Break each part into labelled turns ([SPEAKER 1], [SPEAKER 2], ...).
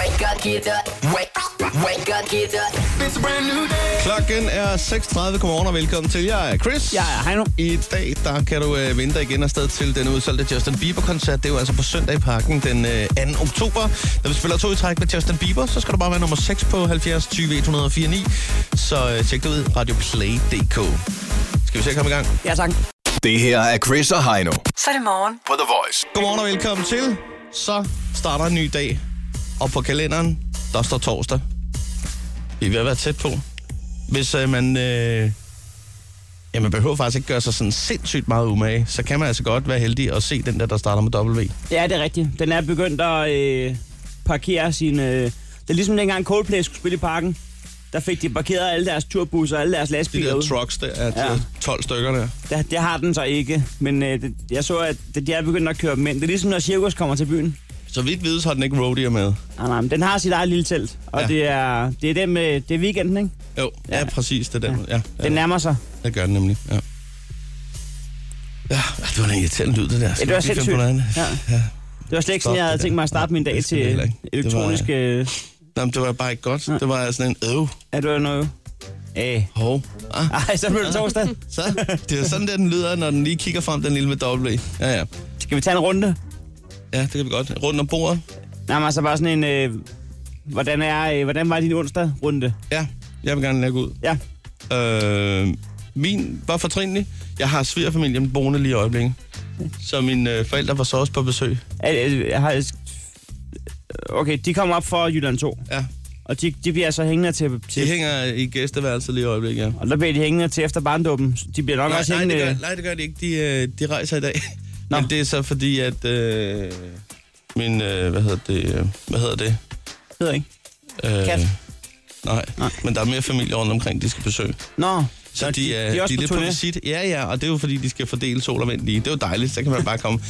[SPEAKER 1] Wake up, get up. Wake, wake up, get up. It's a brand new day.
[SPEAKER 2] Klokken er 6.30. Godmorgen og velkommen til. Jeg er Chris.
[SPEAKER 3] Jeg er Heino.
[SPEAKER 2] I dag der kan du øh, vinde dig igen afsted til den udsolgte Justin Bieber-koncert. Det er jo altså på søndag i parken den øh, 2. oktober. Når vi spiller to i træk med Justin Bieber, så skal du bare være nummer 6 på 70 20 104 9. Så øh, tjek det ud. Radioplay.dk. Skal vi se at komme i gang?
[SPEAKER 3] Ja, tak.
[SPEAKER 4] Det her er Chris og Heino
[SPEAKER 5] Så er det morgen.
[SPEAKER 4] på The Voice.
[SPEAKER 2] Godmorgen og velkommen til. Så starter en ny dag. Og på kalenderen, der står torsdag. Vi er ved at være tæt på. Hvis øh, man... Øh, ja, man behøver faktisk ikke gøre sig sådan sindssygt meget umage, så kan man altså godt være heldig at se den der, der starter med W.
[SPEAKER 3] Ja, det er rigtigt. Den er begyndt at øh, parkere sin... Øh, det er ligesom dengang Coldplay skulle spille i parken. Der fik de parkeret alle deres turbusser og alle deres
[SPEAKER 2] De
[SPEAKER 3] lastbiler
[SPEAKER 2] der
[SPEAKER 3] ud.
[SPEAKER 2] trucks der, er
[SPEAKER 3] Ja.
[SPEAKER 2] ja. 12 stykker der.
[SPEAKER 3] Der, det har den så ikke, men øh, det, jeg så, at det, de er begyndt at køre dem ind. Det er ligesom, når cirkus kommer til byen.
[SPEAKER 2] Så vidt vides har den ikke rodeo med.
[SPEAKER 3] Nej, nej, men den har sit eget lille telt, og
[SPEAKER 2] Ja.
[SPEAKER 3] ja. det, er, det, er den med, det er weekenden, ikke?
[SPEAKER 2] Jo, ja, ja præcis. Det der. Ja. Ja, ja.
[SPEAKER 3] Den nærmer sig.
[SPEAKER 2] Det gør den nemlig, ja. Ja, det var da en irriterende lyd, det der. Skal
[SPEAKER 3] det var
[SPEAKER 2] vi lige finde på noget andet?
[SPEAKER 3] sindssygt.
[SPEAKER 2] ja.
[SPEAKER 3] Det var slet ikke
[SPEAKER 2] Stop
[SPEAKER 3] sådan, jeg havde
[SPEAKER 2] det der.
[SPEAKER 3] tænkt mig at starte min
[SPEAKER 2] Nej,
[SPEAKER 3] dag
[SPEAKER 2] det skal det heller
[SPEAKER 3] til
[SPEAKER 2] ikke. Det var-
[SPEAKER 3] elektroniske...
[SPEAKER 2] Nå, men det var bare ikke godt. Det var sådan en, øv,
[SPEAKER 3] Er du noget? Æh.
[SPEAKER 2] hov. Ah,
[SPEAKER 3] Ej, så blev det torsdag.
[SPEAKER 2] Så, det er sådan, der den lyder, når den lige kigger frem, den lille med dobbelt Ja, ja.
[SPEAKER 3] Skal vi tage en runde?
[SPEAKER 2] Ja, det kan vi godt. Rundt om bordet.
[SPEAKER 3] Nej, men altså bare sådan en... Øh, hvordan, er, øh, hvordan var din onsdag-runde?
[SPEAKER 2] Ja, jeg vil gerne lægge ud.
[SPEAKER 3] Ja,
[SPEAKER 2] Øh, min var fortrinlig. Jeg har svigerfamilien boende lige i øjeblikket. Så mine øh, forældre var så også på besøg.
[SPEAKER 3] er, øh, jeg har, okay, de kommer op for Jylland 2,
[SPEAKER 2] Ja,
[SPEAKER 3] og de, de bliver så hængende til...
[SPEAKER 2] de
[SPEAKER 3] til
[SPEAKER 2] hænger i gæsteværelset lige i øjeblikket, ja.
[SPEAKER 3] og der bliver de hængende til efter barndåben. De bliver nok
[SPEAKER 2] Nej,
[SPEAKER 3] også
[SPEAKER 2] nej,
[SPEAKER 3] hængende...
[SPEAKER 2] det gør, nej, det gør de ikke. De, øh, de rejser i dag. Nå.
[SPEAKER 3] Nå.
[SPEAKER 2] Men det er så fordi, at øh, min, øh, hvad hedder det, øh, hvad hedder det?
[SPEAKER 3] ved jeg ikke.
[SPEAKER 2] Øh,
[SPEAKER 3] Kat.
[SPEAKER 2] Nej. nej,
[SPEAKER 3] Nej.
[SPEAKER 2] men der er mere familie rundt omkring, de skal besøge.
[SPEAKER 3] Nå,
[SPEAKER 2] Så de, er,
[SPEAKER 3] de er
[SPEAKER 2] de
[SPEAKER 3] også
[SPEAKER 2] er
[SPEAKER 3] på
[SPEAKER 2] lidt på
[SPEAKER 3] turné.
[SPEAKER 2] visit. Ja, ja, og det er jo fordi, de skal fordele sol og vind lige. Det er jo dejligt, så kan man bare komme.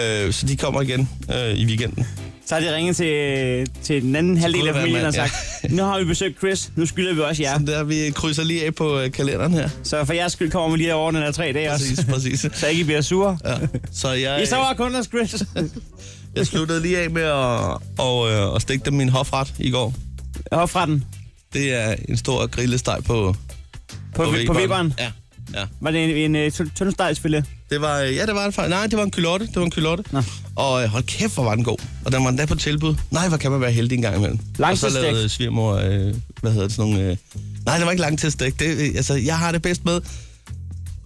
[SPEAKER 2] øh, så de kommer igen øh, i weekenden.
[SPEAKER 3] så har de ringet til, til den anden halvdel af
[SPEAKER 2] være,
[SPEAKER 3] familien og
[SPEAKER 2] mand,
[SPEAKER 3] sagt, nu har vi besøgt Chris, nu skylder vi også jer.
[SPEAKER 2] Ja. Så der, vi krydser lige af på øh, kalenderen her.
[SPEAKER 3] Så for jeres skyld kommer vi lige over den her tre dage
[SPEAKER 2] Præcis,
[SPEAKER 3] også,
[SPEAKER 2] præcis.
[SPEAKER 3] så ikke I bliver sure.
[SPEAKER 2] Ja. Så jeg,
[SPEAKER 3] I så var kun hos Chris.
[SPEAKER 2] jeg sluttede lige af med at, og, øh, at stikke dem min hofret i går.
[SPEAKER 3] Hop fra den.
[SPEAKER 2] Det er en stor grillesteg på,
[SPEAKER 3] På, på, på Weberen.
[SPEAKER 2] Ja, ja.
[SPEAKER 3] Var det en, en, en uh, tyndstejlsfilet?
[SPEAKER 2] Det var, øh, ja, det var en fejl. Nej, det var en kylotte. Det var en kylotte.
[SPEAKER 3] Nå.
[SPEAKER 2] Og øh, hold kæft, hvor var den god. Og den var endda på tilbud. Nej, hvor kan man være heldig en gang imellem. Og så
[SPEAKER 3] Langtidsstegt.
[SPEAKER 2] lavede svigermor, øh, hvad hedder det, sådan nogle... Øh, nej, det var ikke langtidsstegt. Det, øh, altså, jeg har det bedst med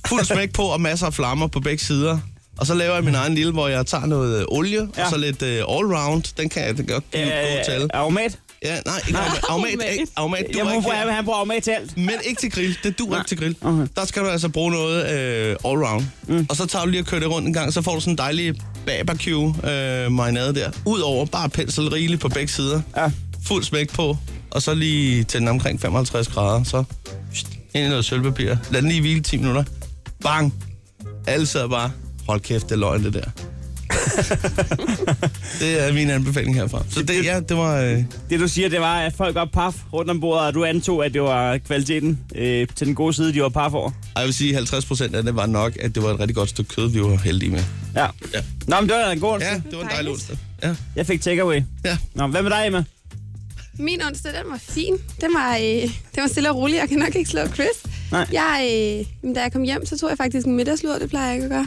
[SPEAKER 2] fuld smæk på og masser af flammer på begge sider. Og så laver jeg min egen lille, hvor jeg tager noget øh, olie, ja.
[SPEAKER 3] Ja.
[SPEAKER 2] og så lidt øh, allround. Den kan jeg den kan godt give øh, god til.
[SPEAKER 3] Aromat?
[SPEAKER 2] Ja, nej, ikke aromat. Aromat, ikke- aromat
[SPEAKER 3] Jeg
[SPEAKER 2] duer
[SPEAKER 3] må
[SPEAKER 2] ikke
[SPEAKER 3] prøve,
[SPEAKER 2] her.
[SPEAKER 3] at han bruger aromat til alt.
[SPEAKER 2] Men ikke til grill. Det duer ikke til grill. Okay.
[SPEAKER 3] Okay.
[SPEAKER 2] Der skal du altså bruge noget øh, allround. Mm. Og så tager du lige og kører det rundt en gang, så får du sådan en dejlig barbecue øh, marinade der. Udover bare pensel rigeligt på begge sider.
[SPEAKER 3] Ja.
[SPEAKER 2] Fuld smæk på. Og så lige til den omkring 55 grader. Så pst, ind i noget sølvpapir. Lad den lige hvile 10 minutter. Bang! Alle sidder bare. Hold kæft, det er løgn, det der. det er min anbefaling herfra. Så det, ja, det var... Øh,
[SPEAKER 3] Det du siger, det var, at folk var paf rundt om bordet, og du antog, at det var kvaliteten øh, til den gode side, de var paf over.
[SPEAKER 2] og jeg vil sige, 50 procent af det var nok, at det var et rigtig godt stykke kød, vi var heldige med.
[SPEAKER 3] Ja.
[SPEAKER 2] Ja.
[SPEAKER 3] Nå, men det var da en god
[SPEAKER 2] Ja,
[SPEAKER 3] ja.
[SPEAKER 2] det var en dejlig onsdag. Ja.
[SPEAKER 3] Jeg fik takeaway.
[SPEAKER 2] ja.
[SPEAKER 3] Nå, hvad med dig, Emma?
[SPEAKER 6] Min onsdag, den var fin. Den var, øh, den var stille og rolig. Jeg kan nok ikke slå Chris.
[SPEAKER 3] Nej.
[SPEAKER 6] Jeg, øh, jamen, da jeg kom hjem, så tog jeg faktisk en middagslur. Det plejer jeg ikke at gøre.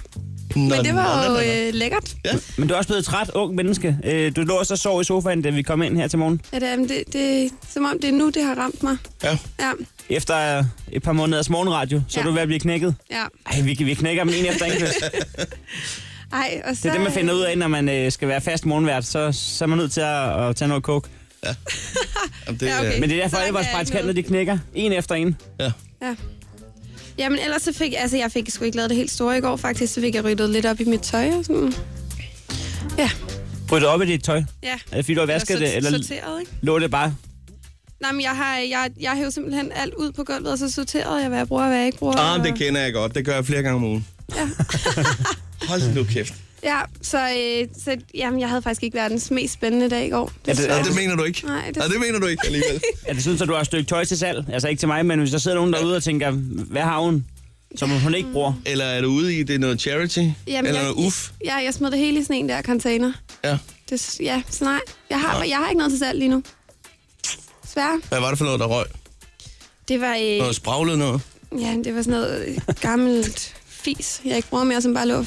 [SPEAKER 2] Nå,
[SPEAKER 6] Men det var jo
[SPEAKER 2] nå, nå, nå.
[SPEAKER 6] øh, lækkert.
[SPEAKER 2] Ja.
[SPEAKER 3] Men du er også blevet træt, ung menneske. Øh, du lå også og sov i sofaen, da vi kom ind her til morgen.
[SPEAKER 6] At, øh, det, det, som om det er nu, det har ramt mig.
[SPEAKER 2] ja.
[SPEAKER 6] Ja,
[SPEAKER 3] Efter øh, et par måneders morgenradio, så ja. er
[SPEAKER 6] Ja.
[SPEAKER 3] du ved at blive knækket.
[SPEAKER 6] ja.
[SPEAKER 3] Ej, vi, vi knækker dem en efter en. Chris.
[SPEAKER 6] Ej, og så,
[SPEAKER 3] Det er det, man finder ud af, når man øh, skal være fast morgenvært. Så, så er man nødt til at, at tage noget coke.
[SPEAKER 2] Jamen, det,
[SPEAKER 6] Ja,
[SPEAKER 2] ja,
[SPEAKER 6] okay.
[SPEAKER 2] okay.
[SPEAKER 3] Men det er derfor,
[SPEAKER 6] Så
[SPEAKER 3] alle
[SPEAKER 6] langt er øh, jeg
[SPEAKER 3] vores
[SPEAKER 6] ikke
[SPEAKER 3] praktikanter,
[SPEAKER 6] nået.
[SPEAKER 3] de knækker. En efter en.
[SPEAKER 2] ja.
[SPEAKER 6] Ja. Jamen ellers så fik altså, jeg fik sgu ikke lavet det helt store i går faktisk, så fik jeg ryddet lidt op i mit tøj og sådan. Ja,
[SPEAKER 3] Rydde op i dit tøj.
[SPEAKER 6] ja.
[SPEAKER 3] Er det fordi, du har vasket det, eller
[SPEAKER 6] sorteret, ikke?
[SPEAKER 3] lå det bare?
[SPEAKER 6] Nej, men jeg har, jeg, jeg hævde simpelthen alt ud på gulvet, og så sorterede jeg, hvad jeg bruger og hvad jeg ikke bruger.
[SPEAKER 2] Ah,
[SPEAKER 6] og-
[SPEAKER 2] det kender jeg godt. Det gør jeg flere gange om ugen.
[SPEAKER 6] Ja.
[SPEAKER 2] Hold nu kæft.
[SPEAKER 6] Ja, så, øh, så jamen, jeg havde faktisk ikke verdens mest spændende dag i går.
[SPEAKER 3] Er det,
[SPEAKER 2] Nej,
[SPEAKER 3] er,
[SPEAKER 2] det
[SPEAKER 3] det,
[SPEAKER 2] mener du ikke.
[SPEAKER 6] Nej, det-
[SPEAKER 2] Nej, det mener du ikke alligevel.
[SPEAKER 3] er det sådan, at du har et stykke tøj til salg? Altså ikke til mig, men hvis der sidder nogen derude og tænker, hvad har hun, som hun ikke bruger?
[SPEAKER 2] Eller er du ude i, det er noget charity? Eller
[SPEAKER 6] jeg,
[SPEAKER 2] noget uff?
[SPEAKER 6] Ja, jeg smed det hele i sådan en der container.
[SPEAKER 2] Ja.
[SPEAKER 6] Det, ja, så nej. Jeg har, jeg har ikke noget til salg lige nu. Svær.
[SPEAKER 2] Hvad var det for noget, der røg?
[SPEAKER 6] Det var, øh,
[SPEAKER 2] Noget spraglet noget?
[SPEAKER 6] ja, det var sådan noget øh, gammelt fis, jeg ikke bruger mere, som bare lå,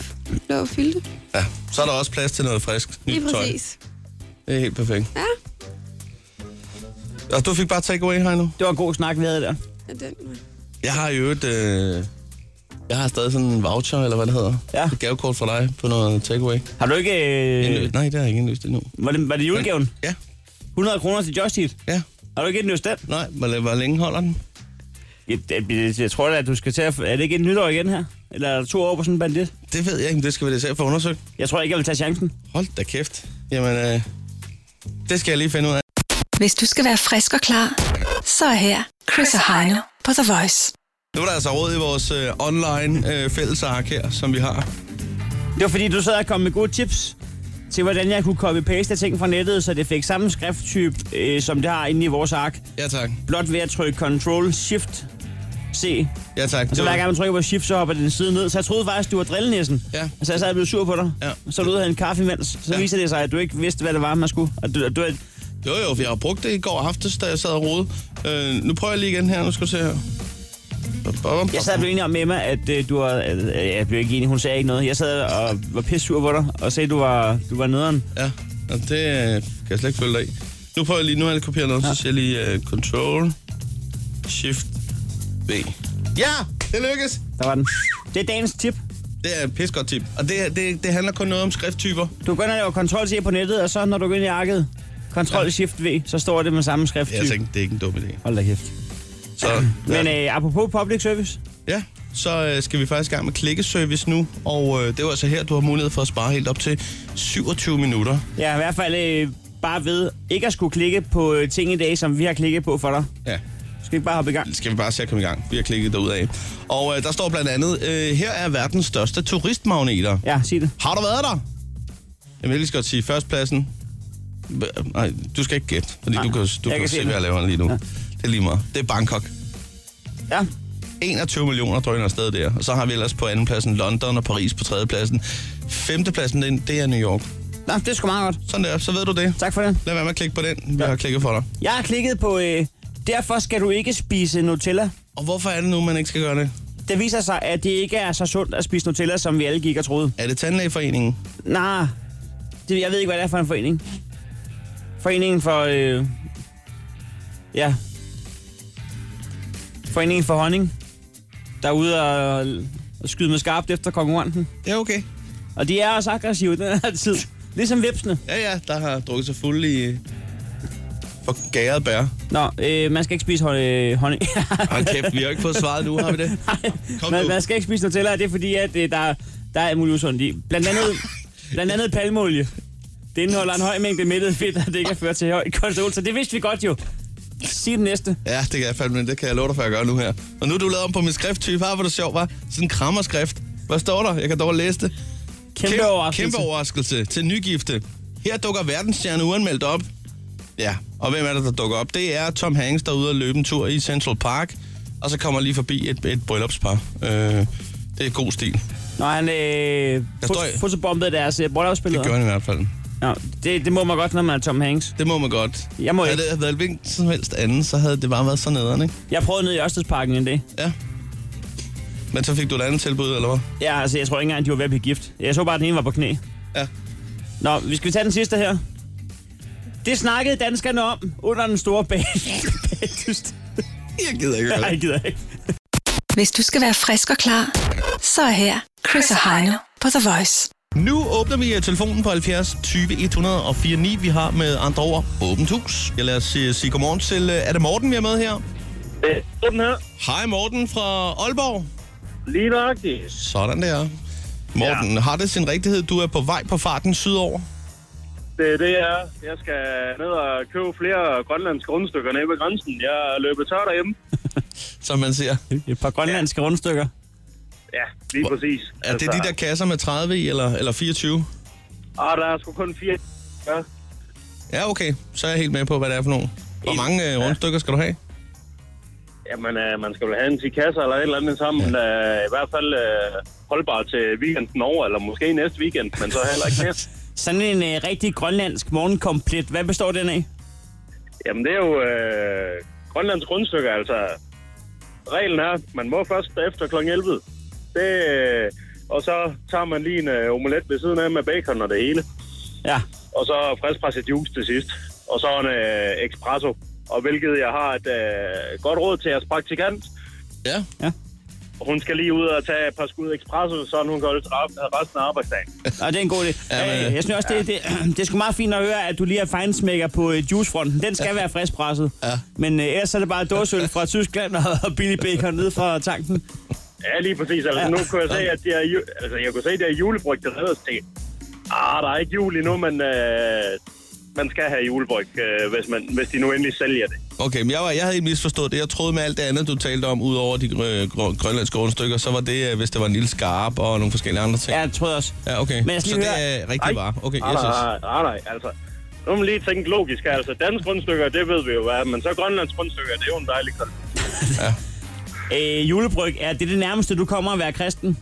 [SPEAKER 6] lå og fyldte.
[SPEAKER 2] Ja, så er der også plads til noget frisk. nyt
[SPEAKER 6] Lige
[SPEAKER 2] tøj.
[SPEAKER 6] præcis.
[SPEAKER 2] Det er helt perfekt.
[SPEAKER 6] Ja,
[SPEAKER 2] Og du fik bare takeaway her nu?
[SPEAKER 3] Det var en god snak, vi havde der.
[SPEAKER 6] ja den.
[SPEAKER 2] Jeg har jo et... Øh, jeg har stadig sådan en voucher, eller hvad det hedder.
[SPEAKER 3] Ja.
[SPEAKER 2] Et gavekort fra dig på noget takeaway.
[SPEAKER 3] Har du ikke...
[SPEAKER 2] Øh.
[SPEAKER 3] Øh,
[SPEAKER 2] Nej, det har jeg ikke indløst endnu.
[SPEAKER 3] var, det, var det julegaven?
[SPEAKER 2] Ja,
[SPEAKER 3] 100 kroner til Just Eat.
[SPEAKER 2] ja.
[SPEAKER 3] Har du ikke indløst den?
[SPEAKER 2] Nej, hvor, hvor længe holder den?
[SPEAKER 3] Jeg, jeg, jeg tror da, at du skal til at... Er det ikke et nytår igen her? Eller er der to år på sådan en bandit?
[SPEAKER 2] Det ved jeg ikke, men det skal vi da selv få undersøgt.
[SPEAKER 3] Jeg tror ikke, jeg vil tage chancen.
[SPEAKER 2] Hold da kæft. Jamen, øh, det skal jeg lige finde ud af.
[SPEAKER 5] Hvis du skal være frisk og klar, så er her Chris og Heino på The Voice.
[SPEAKER 2] Nu er der altså råd i vores øh, online øh, fællesark her, som vi har.
[SPEAKER 3] Det var fordi, du sad og kom med gode tips til, hvordan jeg kunne copy-paste ting fra nettet, så det fik samme skrifttype, øh, som det har inde i vores ark.
[SPEAKER 2] Ja tak.
[SPEAKER 3] Blot ved at trykke Ctrl-Shift-C.
[SPEAKER 2] Ja tak.
[SPEAKER 3] Og så Altså, hver gang man trykker på Shift, så hopper den side ned. Så jeg troede faktisk, du var drillenissen.
[SPEAKER 2] Ja.
[SPEAKER 3] Så jeg sad og blev sur på dig.
[SPEAKER 2] Ja.
[SPEAKER 3] Så er du ude og have en kaffe imens. Så
[SPEAKER 2] Ja.
[SPEAKER 3] viser det sig, at du ikke vidste, hvad det var, man skulle. Og du, du, er-
[SPEAKER 2] Jo jo, jeg har brugt det i går aftes, da jeg sad og rode. Øh, nu prøver jeg lige igen her, nu skal du se her. Bop, bop, bop.
[SPEAKER 3] jeg sad og blev enig om med Emma, at øh, du var... at, øh, jeg blev ikke enig, hun sagde ikke noget. Jeg sad og var pisse sur på dig, og sagde, at du var, du var nederen.
[SPEAKER 2] Ja, og det øh, kan jeg slet ikke følge dig i. Nu prøver jeg lige, nu har jeg kopieret noget, ja. så siger jeg lige øh, Control, Shift, V. Ja, det lykkes!
[SPEAKER 3] Der var den. Det er dagens tip.
[SPEAKER 2] Det er et pissegodt tip. Og det, det, det handler kun noget om skrifttyper.
[SPEAKER 3] Du går ind og laver Ctrl-C på nettet, og så når du går ind i arket, Ctrl-Shift-V, så står det med samme
[SPEAKER 2] Jeg
[SPEAKER 3] skrifttype.
[SPEAKER 2] tænkte, det er ikke en dum idé.
[SPEAKER 3] Hold da kæft.
[SPEAKER 2] Så, ja.
[SPEAKER 3] Men øh, apropos public service,
[SPEAKER 2] Ja, så øh, skal vi faktisk i gang med klikkeservice nu, og øh, det er jo altså her, du har mulighed for at spare helt op til 27 minutter.
[SPEAKER 3] ja, i hvert fald øh, bare ved ikke at skulle klikke på øh, ting i dag, som vi har klikket på for dig.
[SPEAKER 2] Ja.
[SPEAKER 3] Skal vi ikke bare hoppe i gang?
[SPEAKER 2] Skal vi bare se at komme i gang. Vi har klikket derudad. Og øh, der står blandt andet, øh, her er verdens største turistmagneter.
[SPEAKER 3] Ja, sig det.
[SPEAKER 2] Har du været der? Jamen, jeg vil lige så godt sige førstpladsen. B- Nej, du skal ikke gætte, fordi
[SPEAKER 3] Nej,
[SPEAKER 2] du kan, du
[SPEAKER 3] jeg
[SPEAKER 2] kan,
[SPEAKER 3] kan
[SPEAKER 2] se,
[SPEAKER 3] se
[SPEAKER 2] hvad
[SPEAKER 3] det.
[SPEAKER 2] jeg laver lige nu.
[SPEAKER 3] Ja.
[SPEAKER 2] Det er lige meget. Det er Bangkok.
[SPEAKER 3] Ja,
[SPEAKER 2] 21 millioner drøner afsted der. Og så har vi ellers på andenpladsen London og Paris på tredjepladsen. Femtepladsen, det er- det er New York.
[SPEAKER 3] Nå, det er sgu meget godt.
[SPEAKER 2] Sådan der, så ved du det.
[SPEAKER 3] Tak for det.
[SPEAKER 2] Lad være med at klikke på den. Vi
[SPEAKER 3] Ja.
[SPEAKER 2] har klikket for dig.
[SPEAKER 3] Jeg har klikket på, øh, derfor skal du ikke spise Nutella.
[SPEAKER 2] Og hvorfor er det nu, man ikke skal gøre det?
[SPEAKER 3] Det viser sig, at det ikke er så sundt at spise Nutella, som vi alle gik og troede.
[SPEAKER 2] Er det tandlægeforeningen?
[SPEAKER 3] Nej, det, jeg ved ikke, hvad det er for en forening. Foreningen for... Øh, ja. Foreningen for honning, der er ude og, og skyde med skarpt efter konkurrenten.
[SPEAKER 2] Det er okay.
[SPEAKER 3] Og de er også aggressive den her tid. Ligesom vipsene.
[SPEAKER 2] Ja, ja, der har drukket sig fuld i... øh, For gæret bær.
[SPEAKER 3] Nå, øh, man skal ikke spise hon- øh, honning.
[SPEAKER 2] Hold kæft, vi har ikke fået svaret nu, har vi det? Kom
[SPEAKER 3] man,
[SPEAKER 2] nu.
[SPEAKER 3] man skal ikke spise Nutella, og det er fordi, at øh, der, der er alt muligt usundt i. Blandt andet, blandt andet palmolie. Det indeholder en høj mængde mættet fedt, og det kan føre til højt kolesterol, så det vidste vi godt jo. Sig den næste.
[SPEAKER 2] Ja, det kan jeg fandme, det kan jeg love dig for, at jeg gør nu her. Og nu er du lavet om på min skrifttype. Her var det sjovt, var Sådan en krammerskrift. Hvad står der? Jeg kan dog læse det.
[SPEAKER 3] Kæmpe,
[SPEAKER 2] Kæm-
[SPEAKER 3] overraskelse.
[SPEAKER 2] Kæmpe overraskelse til nygifte. Her dukker verdensstjerne uanmeldt op. Ja, og hvem er det, der dukker op? Det er Tom Hanks, der er ude og løbe en tur i Central Park, og så kommer lige forbi et, et bryllupspar. Øh, det er god stil.
[SPEAKER 3] Når han øh,
[SPEAKER 2] Der står-
[SPEAKER 3] fot- fotobombede deres øh, bryllupsbilleder.
[SPEAKER 2] Det gør han i hvert fald.
[SPEAKER 3] Ja, det, det må man godt, når man er Tom Hanks.
[SPEAKER 2] Det må man godt.
[SPEAKER 3] Jeg må
[SPEAKER 2] Havde
[SPEAKER 3] ikke.
[SPEAKER 2] det været hvilken som helst anden, så havde det bare været så nederen, ikke?
[SPEAKER 3] Jeg prøvede ned i Ørstedsparken en dag.
[SPEAKER 2] Ja. Men så fik du et andet tilbud, eller hvad?
[SPEAKER 3] Ja, altså, jeg tror ikke engang, de var ved at blive gift. Jeg så bare, at den ene var på knæ.
[SPEAKER 2] Ja.
[SPEAKER 3] Nå, vi skal tage den sidste her. Det snakkede danskerne om under den store bag. bagdyst.
[SPEAKER 2] Jeg gider ikke.
[SPEAKER 3] Nej, jeg gider ikke.
[SPEAKER 5] Hvis du skal være frisk og klar, så er her Chris og Heino på The Voice.
[SPEAKER 2] Nu åbner vi øh, telefonen på 70 20 104 9. Vi har med andre ord åbent hus. Jeg lader os øh, sige godmorgen til... øh, Er det Morten, vi er med her?
[SPEAKER 7] Øh, den her.
[SPEAKER 2] Hej Morten fra Aalborg.
[SPEAKER 7] Lige nøjagtigt.
[SPEAKER 2] Sådan der. Morten, ja. har det sin rigtighed? Du er på vej på farten sydover.
[SPEAKER 7] Det er det, jeg er. Jeg skal ned og købe flere grønlandske rundstykker nede ved grænsen. Jeg er løbet tør derhjemme.
[SPEAKER 2] Som man siger.
[SPEAKER 3] Et par grønlandske rundstykker.
[SPEAKER 7] Ja, lige
[SPEAKER 2] Hvor-
[SPEAKER 7] præcis. Altså,
[SPEAKER 2] Er det de der kasser med 30 i, eller, eller 24?
[SPEAKER 7] Ah, der er sgu kun fire. Ja.
[SPEAKER 2] Ja, okay. Så er jeg helt med på, hvad det er for nogen. Hvor mange øh, rundstykker skal du have?
[SPEAKER 7] Jamen, øh, man skal vel have en 10 kasser eller et eller andet sammen. Ja. Øh, I hvert fald øh, holdbar til weekenden over, eller måske næste weekend, men så heller ikke mere.
[SPEAKER 3] Sådan en øh, rigtig grønlandsk morgenkomplet, hvad består den af?
[SPEAKER 7] Jamen, det er jo øh, Grønlands grundstykker, altså. Reglen er, man må først efter kl. 11. Det, øh, og så tager man lige en øh, omelet ved siden af med bacon og det hele.
[SPEAKER 3] Ja,
[SPEAKER 7] Og så friskpresset juice til sidst. Og så en øh, espresso. Og hvilket jeg har et øh, godt råd til jeres praktikant.
[SPEAKER 2] Ja.
[SPEAKER 7] Hun skal lige ud og tage et par skud espresso, så hun kan holde til rap- resten af arbejdsdagen.
[SPEAKER 3] og det er en god idé.
[SPEAKER 2] Ja, men,
[SPEAKER 3] Ja,
[SPEAKER 2] øh,
[SPEAKER 3] jeg synes også, det, det, det er sgu meget fint at høre, at du lige er fejnsmækker på øh, juicefronten. Den skal være friskpresset.
[SPEAKER 2] Ja.
[SPEAKER 3] Men øh, ellers er det bare dåseøl fra Tyskland og, og billig bacon nede fra tanken.
[SPEAKER 7] Ja, lige præcis. Altså,
[SPEAKER 3] Ja.
[SPEAKER 7] ja. nu kunne jeg se, at de er, ju- altså, jeg kunne se, at det er julebryg, der hedder til. Ah, der er ikke jul endnu, men øh, man skal have julebryg, øh, hvis, man, hvis de nu endelig sælger det.
[SPEAKER 2] Okay, men jeg, var, jeg havde helt misforstået det. Jeg troede med alt det andet, du talte om, udover de øh, grø- grønlandske grundstykker, så var det, øh, hvis det var en lille skarp og nogle forskellige andre ting.
[SPEAKER 3] Ja, jeg tror jeg også.
[SPEAKER 2] ja okay.
[SPEAKER 3] Men jeg skal
[SPEAKER 2] så
[SPEAKER 3] lige
[SPEAKER 2] det
[SPEAKER 3] høre-
[SPEAKER 2] er rigtig bare. Okay,
[SPEAKER 7] ah,
[SPEAKER 2] yes, yes.
[SPEAKER 7] nej, ah, nej, altså. Nu må man lige tænke logisk, altså. Dansk grundstykker, det ved vi jo, hvad er, men så Grønlands grundstykker, det er jo en dejlig kold.
[SPEAKER 3] Øh, julebryg, er det det nærmeste, du kommer at være kristen?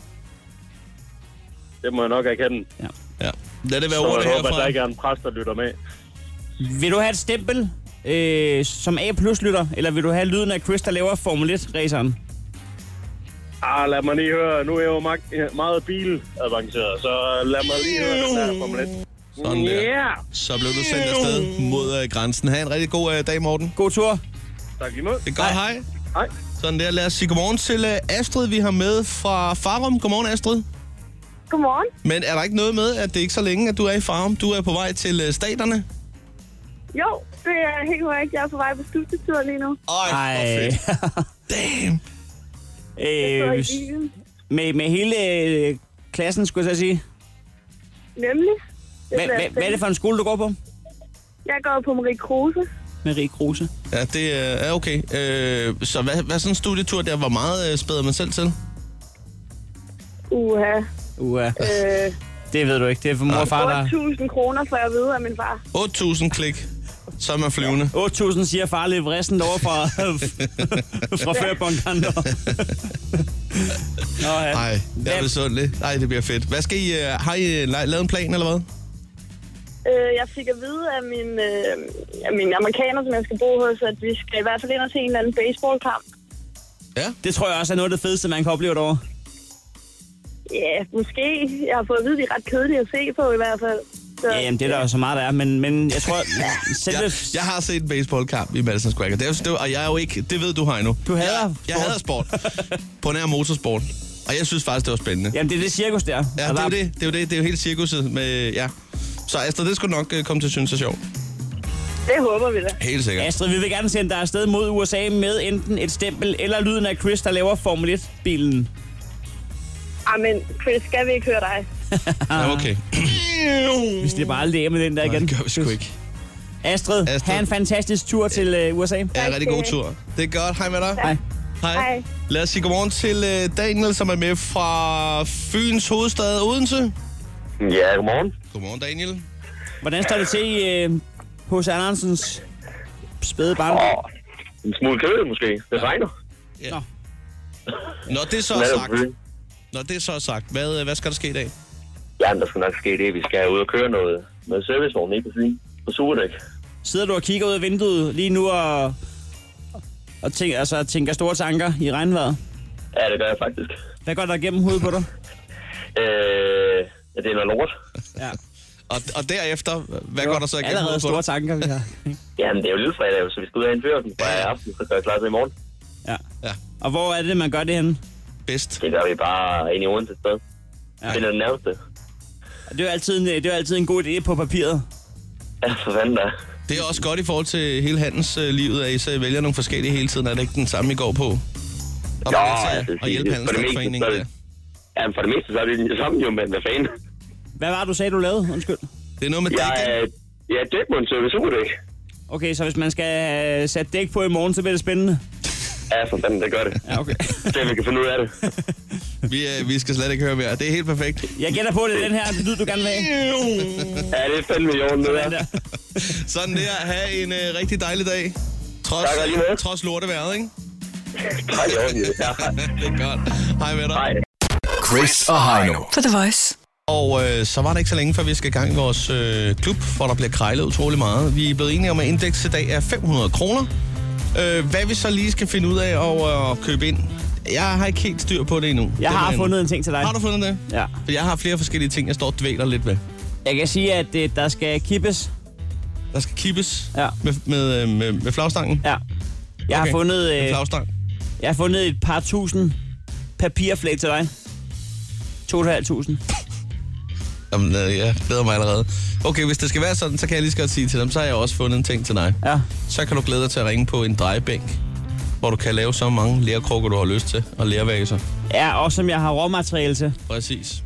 [SPEAKER 7] Det må jeg nok erkende.
[SPEAKER 2] Ja. Lad det være
[SPEAKER 7] Så
[SPEAKER 2] ordet
[SPEAKER 7] jeg håber, at der
[SPEAKER 2] herfra.
[SPEAKER 7] ikke er en præst, der lytter med.
[SPEAKER 3] Vil du have et stempel øh, som A-plus-lytter, eller vil du have lyden af Chris, der laver Formel 1-raceren?
[SPEAKER 7] Ah, lad mig lige høre. Nu er jeg jo mag- meget bilavanceret, så lad mig lige høre den der Formel 1.
[SPEAKER 2] Sådan der.
[SPEAKER 7] Ja,
[SPEAKER 2] Så blev du sendt afsted mod øh, grænsen. Ha' en rigtig god øh, dag, Morten.
[SPEAKER 3] God tur.
[SPEAKER 7] tak lige måde.
[SPEAKER 2] Det er godt, hej.
[SPEAKER 7] Hej.
[SPEAKER 2] Sådan der. Lad os sige godmorgen til øh, Astrid, vi har med fra Farum. Godmorgen, Astrid.
[SPEAKER 8] Godmorgen.
[SPEAKER 2] Men er der ikke noget med, at det er ikke så længe, at du er i Farum? Du er på vej til øh, staterne?
[SPEAKER 8] Jo, det er helt korrekt. Jeg er på vej på studietur lige nu.
[SPEAKER 2] Ej, hvor fedt. Damn.
[SPEAKER 8] Så
[SPEAKER 3] øh,
[SPEAKER 8] i bilen.
[SPEAKER 3] med, med hele øh, klassen, skulle jeg så sige.
[SPEAKER 8] Nemlig. Det
[SPEAKER 3] Hva,
[SPEAKER 8] bliver
[SPEAKER 3] hva, hvad er det for en skole, du går på?
[SPEAKER 8] spændende. Jeg går på Marie Kruse.
[SPEAKER 3] Marie Kruse.
[SPEAKER 2] Ja, det øh, er okay. Øh, så hvad, hvad sådan en studietur der? Hvor meget øh, spæder man selv til?
[SPEAKER 8] Uha.
[SPEAKER 3] Uha,
[SPEAKER 8] Øh,
[SPEAKER 3] det ved du ikke. Det er for mor og far, der...
[SPEAKER 8] 8.000 kroner får jeg at vide af min far.
[SPEAKER 2] 8.000 klik, så er man flyvende.
[SPEAKER 3] 8.000 siger far lidt vrissent over fra, fra førbunkeren. Nå, ja.
[SPEAKER 2] Nej, jeg er
[SPEAKER 3] Hvad-
[SPEAKER 2] besundelig. Nej, det bliver fedt. Hvad skal I... Øh, har I øh, la- lavet en plan, eller hvad?
[SPEAKER 8] Øh, jeg fik at vide af min, øh, af min amerikaner, som jeg skal bo hos, at vi skal i hvert fald ind og se en eller anden baseballkamp.
[SPEAKER 3] Det tror jeg også er noget af det fedeste, man kan opleve derovre.
[SPEAKER 8] Ja, måske. Jeg har fået at vide, at de er ret kedelige at se på i hvert fald. Så,
[SPEAKER 3] Ja, jamen, det er der jo så meget, der er, men, men jeg tror... Selve,
[SPEAKER 2] Jeg, jeg har set en baseballkamp i Madison Square Garden, Det er- det er- og jeg er jo ikke... Det ved du, Heino.
[SPEAKER 3] Du hader
[SPEAKER 2] jeg, jeg
[SPEAKER 3] sport.
[SPEAKER 2] hader sport. På nær motorsport. Og jeg synes faktisk, det var spændende.
[SPEAKER 3] Jamen, det er Altså- det cirkus der.
[SPEAKER 2] Ja,
[SPEAKER 3] Og
[SPEAKER 2] det er
[SPEAKER 3] der
[SPEAKER 2] jo det. Det er jo det. Det er jo hele cirkuset med... Ja. Så Astrid, det skulle du nok øh, komme til at synes er sjovt.
[SPEAKER 8] det håber vi da.
[SPEAKER 2] Helt sikkert.
[SPEAKER 3] Astrid, vi vil gerne sende dig afsted mod USA med enten et stempel eller lyden af Chris, der laver Formel 1-bilen.
[SPEAKER 8] Ej, ah, men Chris, skal vi ikke høre dig?
[SPEAKER 2] Ja, okay.
[SPEAKER 3] Hvis det er bare aldrig af med den der igen.
[SPEAKER 2] Det gør vi sgu ikke.
[SPEAKER 3] Astrid,
[SPEAKER 2] Astrid.
[SPEAKER 3] Astrid. have en fantastisk tur til øh, USA.
[SPEAKER 2] Ja, rigtig god tur. Det er godt. Hej med dig.
[SPEAKER 3] Hej.
[SPEAKER 2] Hej.
[SPEAKER 8] Hej.
[SPEAKER 2] Lad os sige godmorgen til øh, Daniel, som er med fra Fyns hovedstad Odense.
[SPEAKER 7] Ja, godmorgen.
[SPEAKER 2] Godmorgen, Daniel.
[SPEAKER 3] Hvordan står det til i øh, hos Andersens spæde barn?
[SPEAKER 7] En smule kød måske. Det regner.
[SPEAKER 2] Ja.
[SPEAKER 3] Nå.
[SPEAKER 2] Når det så er sagt, når det så er sagt hvad, øh, hvad skal der ske i dag?
[SPEAKER 7] Jamen, der skal nok ske det. Vi skal ud og køre noget, noget servicevogn nede på Fyn. På Surdæk.
[SPEAKER 3] Sidder du og kigger ud af vinduet lige nu og, og tænker, altså, tænker store tanker i regnvejret?
[SPEAKER 7] Ja, det gør jeg faktisk.
[SPEAKER 3] Hvad går der igennem hovedet på dig?
[SPEAKER 7] Øh, ja, det er noget lort.
[SPEAKER 3] Ja.
[SPEAKER 2] Og, og derefter, hvad går der så igennem
[SPEAKER 3] Allerede
[SPEAKER 2] hovedet på
[SPEAKER 3] store
[SPEAKER 2] dig?
[SPEAKER 3] tanker, vi har.
[SPEAKER 7] Jamen, det er jo lille fredag, så vi skal ud og indføre den fra i aften, så gør jeg klar til i morgen.
[SPEAKER 3] Ja.
[SPEAKER 2] Ja,
[SPEAKER 3] Og hvor er det, man gør det henne?
[SPEAKER 2] bedst.
[SPEAKER 7] Det gør vi bare ind i Odense et sted. Ja. Det er den nærmeste.
[SPEAKER 3] Det er jo altid en, det er jo altid en god idé på papiret.
[SPEAKER 7] Ja, for fanden da.
[SPEAKER 2] Det er også godt i forhold til hele handelslivet, at I så vælger nogle forskellige hele tiden. Er det ikke den samme, I går på? Og
[SPEAKER 7] Jo,
[SPEAKER 2] ja,
[SPEAKER 7] altså,
[SPEAKER 2] og hjælpe
[SPEAKER 7] det- for det meste,
[SPEAKER 2] handelsforeningen
[SPEAKER 7] så er
[SPEAKER 2] der.
[SPEAKER 7] det- Jamen, for det meste, så er det det samme jo, men hvad fanden.
[SPEAKER 3] Hvad var det, du sagde, du lavede? Undskyld.
[SPEAKER 2] Det er noget med
[SPEAKER 7] Jeg
[SPEAKER 2] dækken.
[SPEAKER 7] er, jeg er dækmontør ved Surdæk.
[SPEAKER 3] Okay, så hvis man skal øh, sætte dæk på i morgen, så bliver det spændende.
[SPEAKER 7] Ja, for fanden, det gør det.
[SPEAKER 3] Ja, okay.
[SPEAKER 7] Det vi kan finde ud af det.
[SPEAKER 2] Vi, øh, vi skal slet ikke høre mere. Det er helt perfekt.
[SPEAKER 3] Jeg gætter på, at det er den her lyd, du gerne vil have.
[SPEAKER 7] Ja, det er fandme i orden, det
[SPEAKER 3] Den
[SPEAKER 7] der.
[SPEAKER 3] der.
[SPEAKER 2] Sådan der. Ha' en øh, rigtig dejlig dag. Trods, øh,
[SPEAKER 7] Tak, og lige måde.
[SPEAKER 2] trods lorteværet, ikke?
[SPEAKER 7] Tak, i orden, ja.
[SPEAKER 2] det er godt. Hej med dig.
[SPEAKER 7] Hej.
[SPEAKER 4] Chris og Heino.
[SPEAKER 5] På The Voice.
[SPEAKER 2] Og øh, så var det ikke så længe, før vi skal i gang i vores øh, klub, for der bliver krejlet utrolig meget. Vi er blevet enige om, at indeks i dag er 500 kroner. Øh, hvad vi så lige skal finde ud af og øh, købe ind, jeg har ikke helt styr på det endnu.
[SPEAKER 3] Jeg
[SPEAKER 2] Det må
[SPEAKER 3] har
[SPEAKER 2] jeg-
[SPEAKER 3] fundet en ting til dig.
[SPEAKER 2] Har du fundet det?
[SPEAKER 3] Ja.
[SPEAKER 2] For jeg har flere forskellige ting, jeg står og dvæler lidt ved.
[SPEAKER 3] Jeg kan sige, at øh, der skal kippes.
[SPEAKER 2] Der skal kippes
[SPEAKER 3] Ja.
[SPEAKER 2] med, med, øh, med, med flagstangen.
[SPEAKER 3] Ja. Jeg, okay. har
[SPEAKER 2] Okay.
[SPEAKER 3] fundet,
[SPEAKER 2] Med
[SPEAKER 3] øh,
[SPEAKER 2] flagstang.
[SPEAKER 3] jeg har fundet et par tusind papirflæg til dig. 2.500.
[SPEAKER 2] Jamen, øh, jeg glæder mig allerede. Okay, hvis det skal være sådan, så kan jeg lige så godt sige til dem, så har jeg også fundet en ting til dig.
[SPEAKER 3] Ja.
[SPEAKER 2] Så kan du glæde dig til at ringe på en drejebænk, hvor du kan lave så mange lærkrukker, du har lyst til, og lærvaser.
[SPEAKER 3] Ja, og som jeg har råmateriale til.
[SPEAKER 2] Præcis.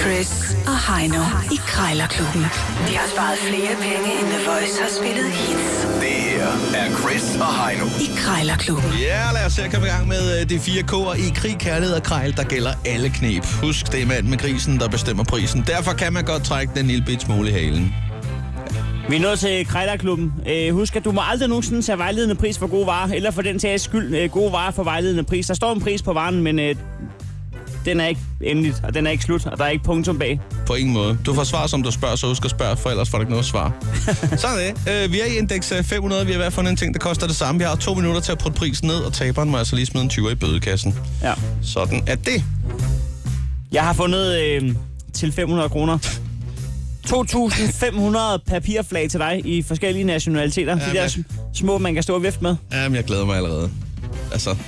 [SPEAKER 5] Chris og Heino i Krejlerklubben. De har sparet flere penge, end The Voice har spillet hits
[SPEAKER 9] Det her er Chris og Heino.
[SPEAKER 5] i Krejlerklubben.
[SPEAKER 2] Ja, lad os se at komme i gang med øh, de fire K'er i krig, kærlighed og krejl, der gælder alle knep. Husk, det er manden med grisen, der bestemmer prisen. Derfor kan man godt trække den lille bit smule i halen.
[SPEAKER 3] Vi er nået til Krejlerklubben. Øh, husk, at du må aldrig nogensinde tage vejledende pris for gode varer, eller for den sags skyld øh, gode varer for vejledende pris. Der står en pris på varen, men øh, den er ikke endeligt, og den er ikke slut, og der er ikke punktum bag.
[SPEAKER 2] På ingen måde. Du får svar, som du spørger, så husk at spørge, for ellers får du ikke noget svar. Sådan er det. Øh, vi er i indeks øh, 500. Vi har i hvert fald fundet en ting, der koster det samme. Vi har to minutter til at putte prisen ned, og taberen må altså lige smide en 20 i bødekassen.
[SPEAKER 3] Ja.
[SPEAKER 2] Sådan er det.
[SPEAKER 3] Jeg har fundet øh, til 500 kroner. 2.500 papirflag til dig i forskellige nationaliteter. Ja, de
[SPEAKER 2] Jamen,
[SPEAKER 3] der
[SPEAKER 2] jeg-
[SPEAKER 3] sm- små, man kan stå og vifte med.
[SPEAKER 2] Jamen, jeg glæder mig allerede. Altså, det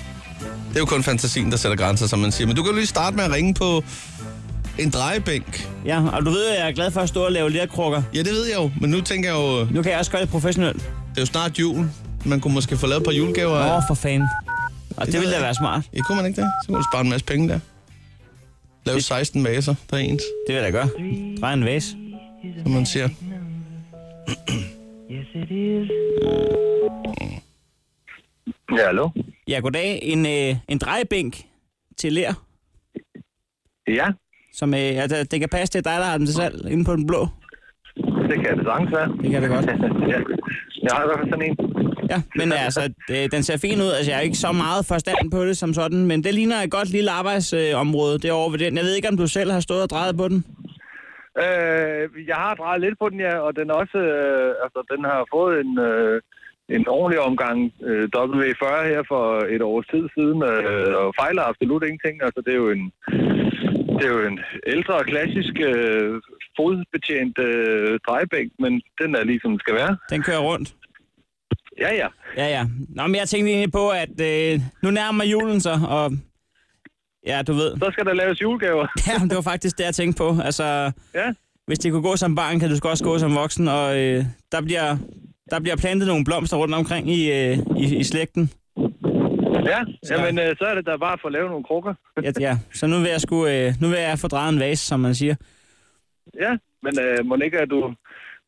[SPEAKER 2] er jo kun fantasien, der sætter grænser, som man siger. Men du kan jo lige starte med at ringe på en drejebænk.
[SPEAKER 3] Ja, og du ved, at jeg er glad for at stå og lave lærkrukker.
[SPEAKER 2] Ja, det ved jeg jo, men nu tænker jeg jo, øh,
[SPEAKER 3] Nu kan jeg også gøre det professionelt.
[SPEAKER 2] det er jo snart jul. Man kunne måske få lavet et par julegaver.
[SPEAKER 3] Åh, oh, for fanden. Og det
[SPEAKER 2] ved
[SPEAKER 3] ville da
[SPEAKER 2] jeg
[SPEAKER 3] være smart.
[SPEAKER 2] Ja, kunne man ikke det? Så kunne du spare en masse penge der. Lave 16 vaser, der er ens,
[SPEAKER 3] Det vil jeg da gøre. Drej en vase.
[SPEAKER 2] som man siger.
[SPEAKER 10] Ja, hallo?
[SPEAKER 3] Ja, goddag. En, øh, en drejebænk til lær,
[SPEAKER 10] Ja,
[SPEAKER 3] som øh, ja, det, det kan passe til dig, der har den til salg inde på den blå.
[SPEAKER 10] det kan jeg det sagtens være.
[SPEAKER 3] Det kan det godt.
[SPEAKER 10] ja. Jeg har i hvert fald sådan en.
[SPEAKER 3] Ja, men altså, øh, den ser fin ud. Altså, jeg er ikke så meget forstand på det som sådan, men det ligner et godt lille arbejdsområde øh, område derovre ved den. Jeg ved ikke, om du selv har stået og drejet på den.
[SPEAKER 10] Øh, jeg har drejet lidt på den, ja, og den er også, øh, altså, den har fået en, øh, en ordentlig omgang øh, W40 her for et års tid siden, øh, og fejler absolut ingenting. Altså, det er jo en, det er jo en ældre, klassisk øh, fodbetjent øh, drejebænk, men den er ligesom den skal være.
[SPEAKER 3] Den kører rundt.
[SPEAKER 10] Ja, ja.
[SPEAKER 3] Ja, ja. Nå, men jeg tænkte egentlig på, at øh, nu nærmer julen sig, og ja, du ved.
[SPEAKER 10] Så skal der laves julegaver.
[SPEAKER 3] Ja, det var faktisk det, jeg tænkte på. Altså,
[SPEAKER 10] Ja,
[SPEAKER 3] hvis det kunne gå som barn, kan du sgu også gå som voksen, og øh, der, bliver, der bliver plantet nogle blomster rundt omkring i, øh, i, i slægten.
[SPEAKER 10] ja. Jamen, øh, så er det da bare for at lave nogle krukker.
[SPEAKER 3] Ja, ja. Så nu vil jeg, sgu, øh, nu vil jeg få drejet en vase, som man siger.
[SPEAKER 10] Ja, men øh, må ikke, at du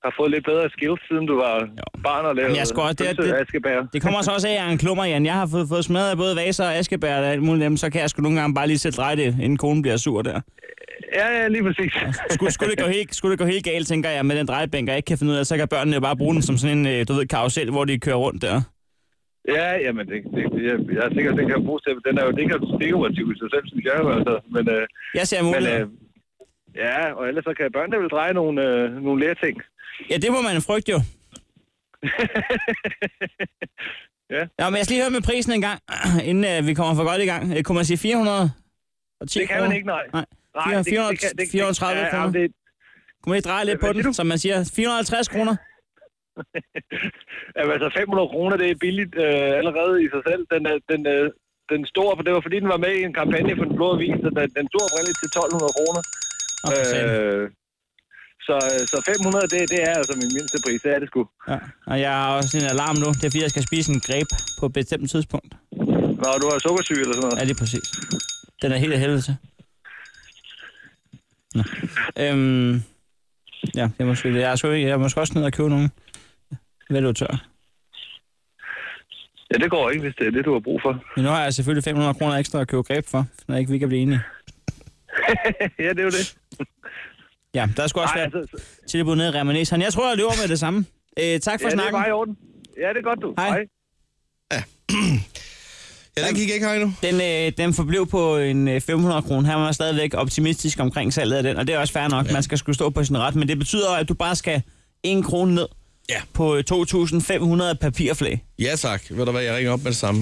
[SPEAKER 10] har fået lidt bedre skills, siden du var jo. barn og lavede
[SPEAKER 3] jeg skal også- det er-
[SPEAKER 10] pølse-
[SPEAKER 3] det-
[SPEAKER 10] askebær.
[SPEAKER 3] Det kommer så også af, at jeg er en klummer, Jan. Jeg har fået, fået smadret af både vaser og askebær og alt muligt. Jamen, så kan jeg sgu nogle gange bare lige selv dreje det, inden konen bliver sur der.
[SPEAKER 10] Ja, ja, lige præcis.
[SPEAKER 3] Skulle, skulle, det gå helt, skulle det gå helt galt, tænker jeg, med den drejebænk, og jeg ikke kan finde ud af, så kan børnene jo bare bruge den som sådan en, øh, du ved, karusel, hvor de kører rundt der.
[SPEAKER 10] ja, jamen, det, det, jeg, jeg er sikker, at den kan bruges til, den er jo det kan dekorativ i sig selv, synes jeg. jo, Altså. Men, øh,
[SPEAKER 3] Jeg ser
[SPEAKER 10] men
[SPEAKER 3] muligheder.
[SPEAKER 10] øh, ja, og ellers så kan børnene vel dreje nogle, øh, nogle lærting.
[SPEAKER 3] Ja, det må man frygte jo.
[SPEAKER 10] Ja.
[SPEAKER 3] Nå, men jeg skal lige høre med prisen en gang, inden uh, vi kommer for godt i gang. Uh, kunne man sige 400? Og 10
[SPEAKER 10] Det kan man ikke, nej.
[SPEAKER 3] Nej.
[SPEAKER 10] Nej,
[SPEAKER 3] Fire-
[SPEAKER 10] det- det kan- det kan- det-
[SPEAKER 3] 430
[SPEAKER 10] ja,
[SPEAKER 3] kroner.
[SPEAKER 10] jamen, det-
[SPEAKER 3] Kunne man ikke dreje lidt
[SPEAKER 10] Hvad
[SPEAKER 3] på
[SPEAKER 10] siger
[SPEAKER 3] den,
[SPEAKER 10] du?
[SPEAKER 3] som man siger? 450 kroner?
[SPEAKER 10] Jamen, altså 500 kroner, det er billigt øh, allerede i sig selv. Den, er- den, øh, den store, for det var fordi, den var med i en kampagne for den blå avis, så den, den stod oprindeligt til 1200 kroner.
[SPEAKER 3] Nå, for satan.
[SPEAKER 10] Øh, så, øh, så 500, det, det er altså min mindste pris, det er det sgu.
[SPEAKER 3] Ja. Og jeg har også en alarm nu. Det er fordi, jeg skal spise en greb på et bestemt tidspunkt.
[SPEAKER 10] Når du har sukkersyge eller sådan noget.
[SPEAKER 3] Ja, lige præcis. Den er helt af helvede til. Nå. Øhm, ja, jeg må, sgu- jeg, er sgu, ikke- jeg må sgu også ned og købe nogle. Hvad er du tør?
[SPEAKER 10] Ja, det går ikke, hvis det er det, du har brug for.
[SPEAKER 3] Men nu har jeg selvfølgelig 500 kroner ekstra at købe greb for, når ikke vi kan blive enige.
[SPEAKER 10] ja, det er jo det.
[SPEAKER 3] Ja, der skulle også
[SPEAKER 10] Ej,
[SPEAKER 3] være
[SPEAKER 10] altså,
[SPEAKER 3] altså... tilbud nede i Remanes. Jeg tror, jeg løber med det samme. Øh, tak for
[SPEAKER 10] ja, det er
[SPEAKER 3] snakken.
[SPEAKER 10] bare i orden. Ja, det er godt, du.
[SPEAKER 3] Hej.
[SPEAKER 10] Hej.
[SPEAKER 2] Jeg Ja, den gik ikke, Heino.
[SPEAKER 3] Den, øh, den forblev på en øh, 500 kroner. Han var stadigvæk optimistisk omkring salget af den, og det er også fair nok. Ja. Man skal skulle stå på sin ret, men det betyder, at du bare skal en krone ned
[SPEAKER 2] Ja.
[SPEAKER 3] på øh, 2.500 papirflag.
[SPEAKER 2] Ja tak. Ved du hvad, jeg ringer op med det samme.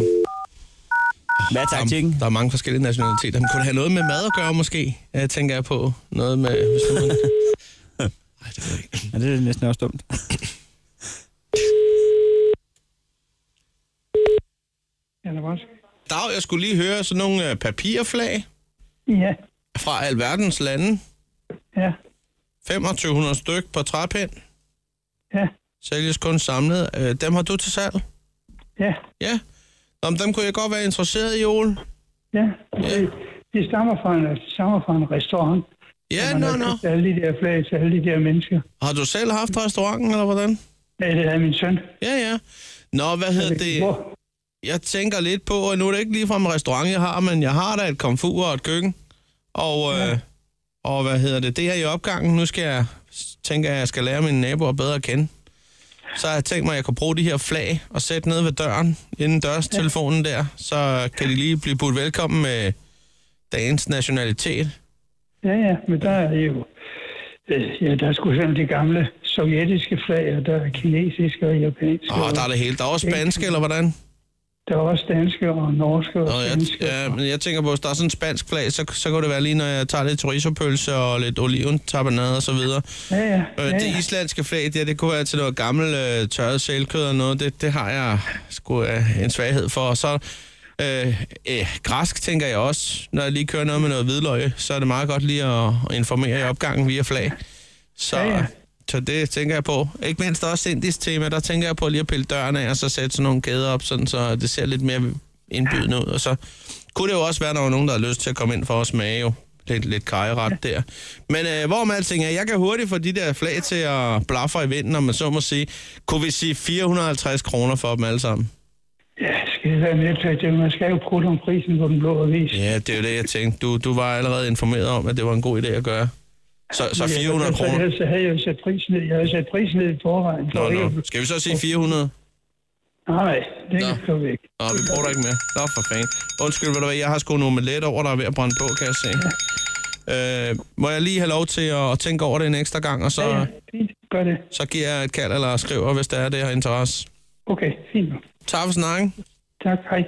[SPEAKER 3] Hvad er taktikken?
[SPEAKER 2] Der, der er mange forskellige nationaliteter. Men kunne det have noget med mad at gøre, måske? Jeg tænker jeg på noget med... Hvis nu man... Ej, det ved jeg ikke.
[SPEAKER 3] Ja, det er næsten også dumt.
[SPEAKER 2] Dag, jeg skulle lige høre sådan nogle øh, papirflag
[SPEAKER 11] Ja,
[SPEAKER 2] fra alverdens lande.
[SPEAKER 11] ja,
[SPEAKER 2] 2500 styk på træpind.
[SPEAKER 11] ja,
[SPEAKER 2] Sælges kun samlet. Øh, dem har du til salg?
[SPEAKER 11] ja,
[SPEAKER 2] Ja. Nå, men dem kunne jeg godt være interesseret i, Ole.
[SPEAKER 11] ja. Det, det stammer fra en, det stammer fra en restaurant.
[SPEAKER 2] Ja,
[SPEAKER 11] Man
[SPEAKER 2] nå,
[SPEAKER 11] har
[SPEAKER 2] nå.
[SPEAKER 11] købt alle de der flag til alle de der mennesker.
[SPEAKER 2] Har du selv haft restauranten, eller hvordan?
[SPEAKER 11] Ja, det havde min søn.
[SPEAKER 2] Ja, ja. Nå, hvad hedder det?
[SPEAKER 11] Hvor?
[SPEAKER 2] jeg tænker lidt på, og nu er det ikke lige fra en restaurant, jeg har, men jeg har da et komfur og et køkken. Og, ja. øh, og hvad hedder det? Det er i opgangen. Nu skal jeg tænke, at jeg skal lære mine naboer bedre at kende. Så har jeg tænkt mig, at jeg kan bruge de her flag og sætte ned ved døren, inden dørstelefonen der. Så kan de lige blive budt velkommen med dagens nationalitet.
[SPEAKER 11] Ja, ja, men der er jo... øh, Ja, der er sgu sådan de gamle sovjetiske flag, og der er kinesiske og japanske.
[SPEAKER 2] Åh, der er det hele. Der er også spansk, eller hvordan?
[SPEAKER 11] der er også danske og norske og
[SPEAKER 2] Nå, jeg,
[SPEAKER 11] svenske.
[SPEAKER 2] ja, men jeg tænker på, hvis der er sådan en spansk flag, så, så kunne det være lige, når jeg tager lidt chorizo-pølse og lidt oliventapenade og så videre.
[SPEAKER 11] ja, ja,
[SPEAKER 2] Øh,
[SPEAKER 11] ja,
[SPEAKER 2] det
[SPEAKER 11] ja.
[SPEAKER 2] islandske flag, det, det kunne være til noget gammelt øh, tørret sælkød og noget. Det, det har jeg sgu øh, en svaghed for. Og så øh, øh, græsk, tænker jeg også. Når jeg lige kører noget med noget hvidløg, så er det meget godt lige at informere i opgangen via flag. Så,
[SPEAKER 11] Ja, ja.
[SPEAKER 2] så det tænker jeg på. Ikke mindst også indisk tema, der tænker jeg på lige at pille døren af, og så sætte sådan nogle kæder op, sådan, så det ser lidt mere indbydende ud. Og så kunne det jo også være, der var nogen, der har lyst til at komme ind for at smage jo. Lidt, lidt kajeret ja. der. Men øh, hvorom alting er, jeg kan hurtigt få de der flag til at blaffe i vinden, om man så må sige. Kunne vi sige 450 kroner for dem alle sammen?
[SPEAKER 11] ja, skal det være med til, at man skal jo prutte om prisen på den blå avis.
[SPEAKER 2] Ja, det er jo det, jeg tænkte. Du, du var allerede informeret om, at det var en god idé at gøre. Så, så 400
[SPEAKER 11] Ja, altså, så-
[SPEAKER 2] kroner.
[SPEAKER 11] Så havde jeg jo sat prisen ned. Jeg havde sat prisen ned i forvejen.
[SPEAKER 2] Nå,
[SPEAKER 11] for ikke
[SPEAKER 2] nå.
[SPEAKER 11] at-
[SPEAKER 2] Skal vi så sige 400?
[SPEAKER 11] Nej, det
[SPEAKER 2] Nå.
[SPEAKER 11] kan stå væk.
[SPEAKER 2] Nå, vi bruger dig ikke mere. Nå, for fanden. Undskyld, ved du hvad, jeg har sgu en omelet over, der er ved at brænde på, kan jeg se. Øh, må jeg lige have lov til at, at tænke over det en ekstra gang, og så,
[SPEAKER 11] Ja, ja, fint. Gør det.
[SPEAKER 2] så giver jeg et kald eller skriver, hvis der er det her interesse.
[SPEAKER 11] Okay, fint. nok.
[SPEAKER 2] Tak for snakken.
[SPEAKER 11] Tak, hej.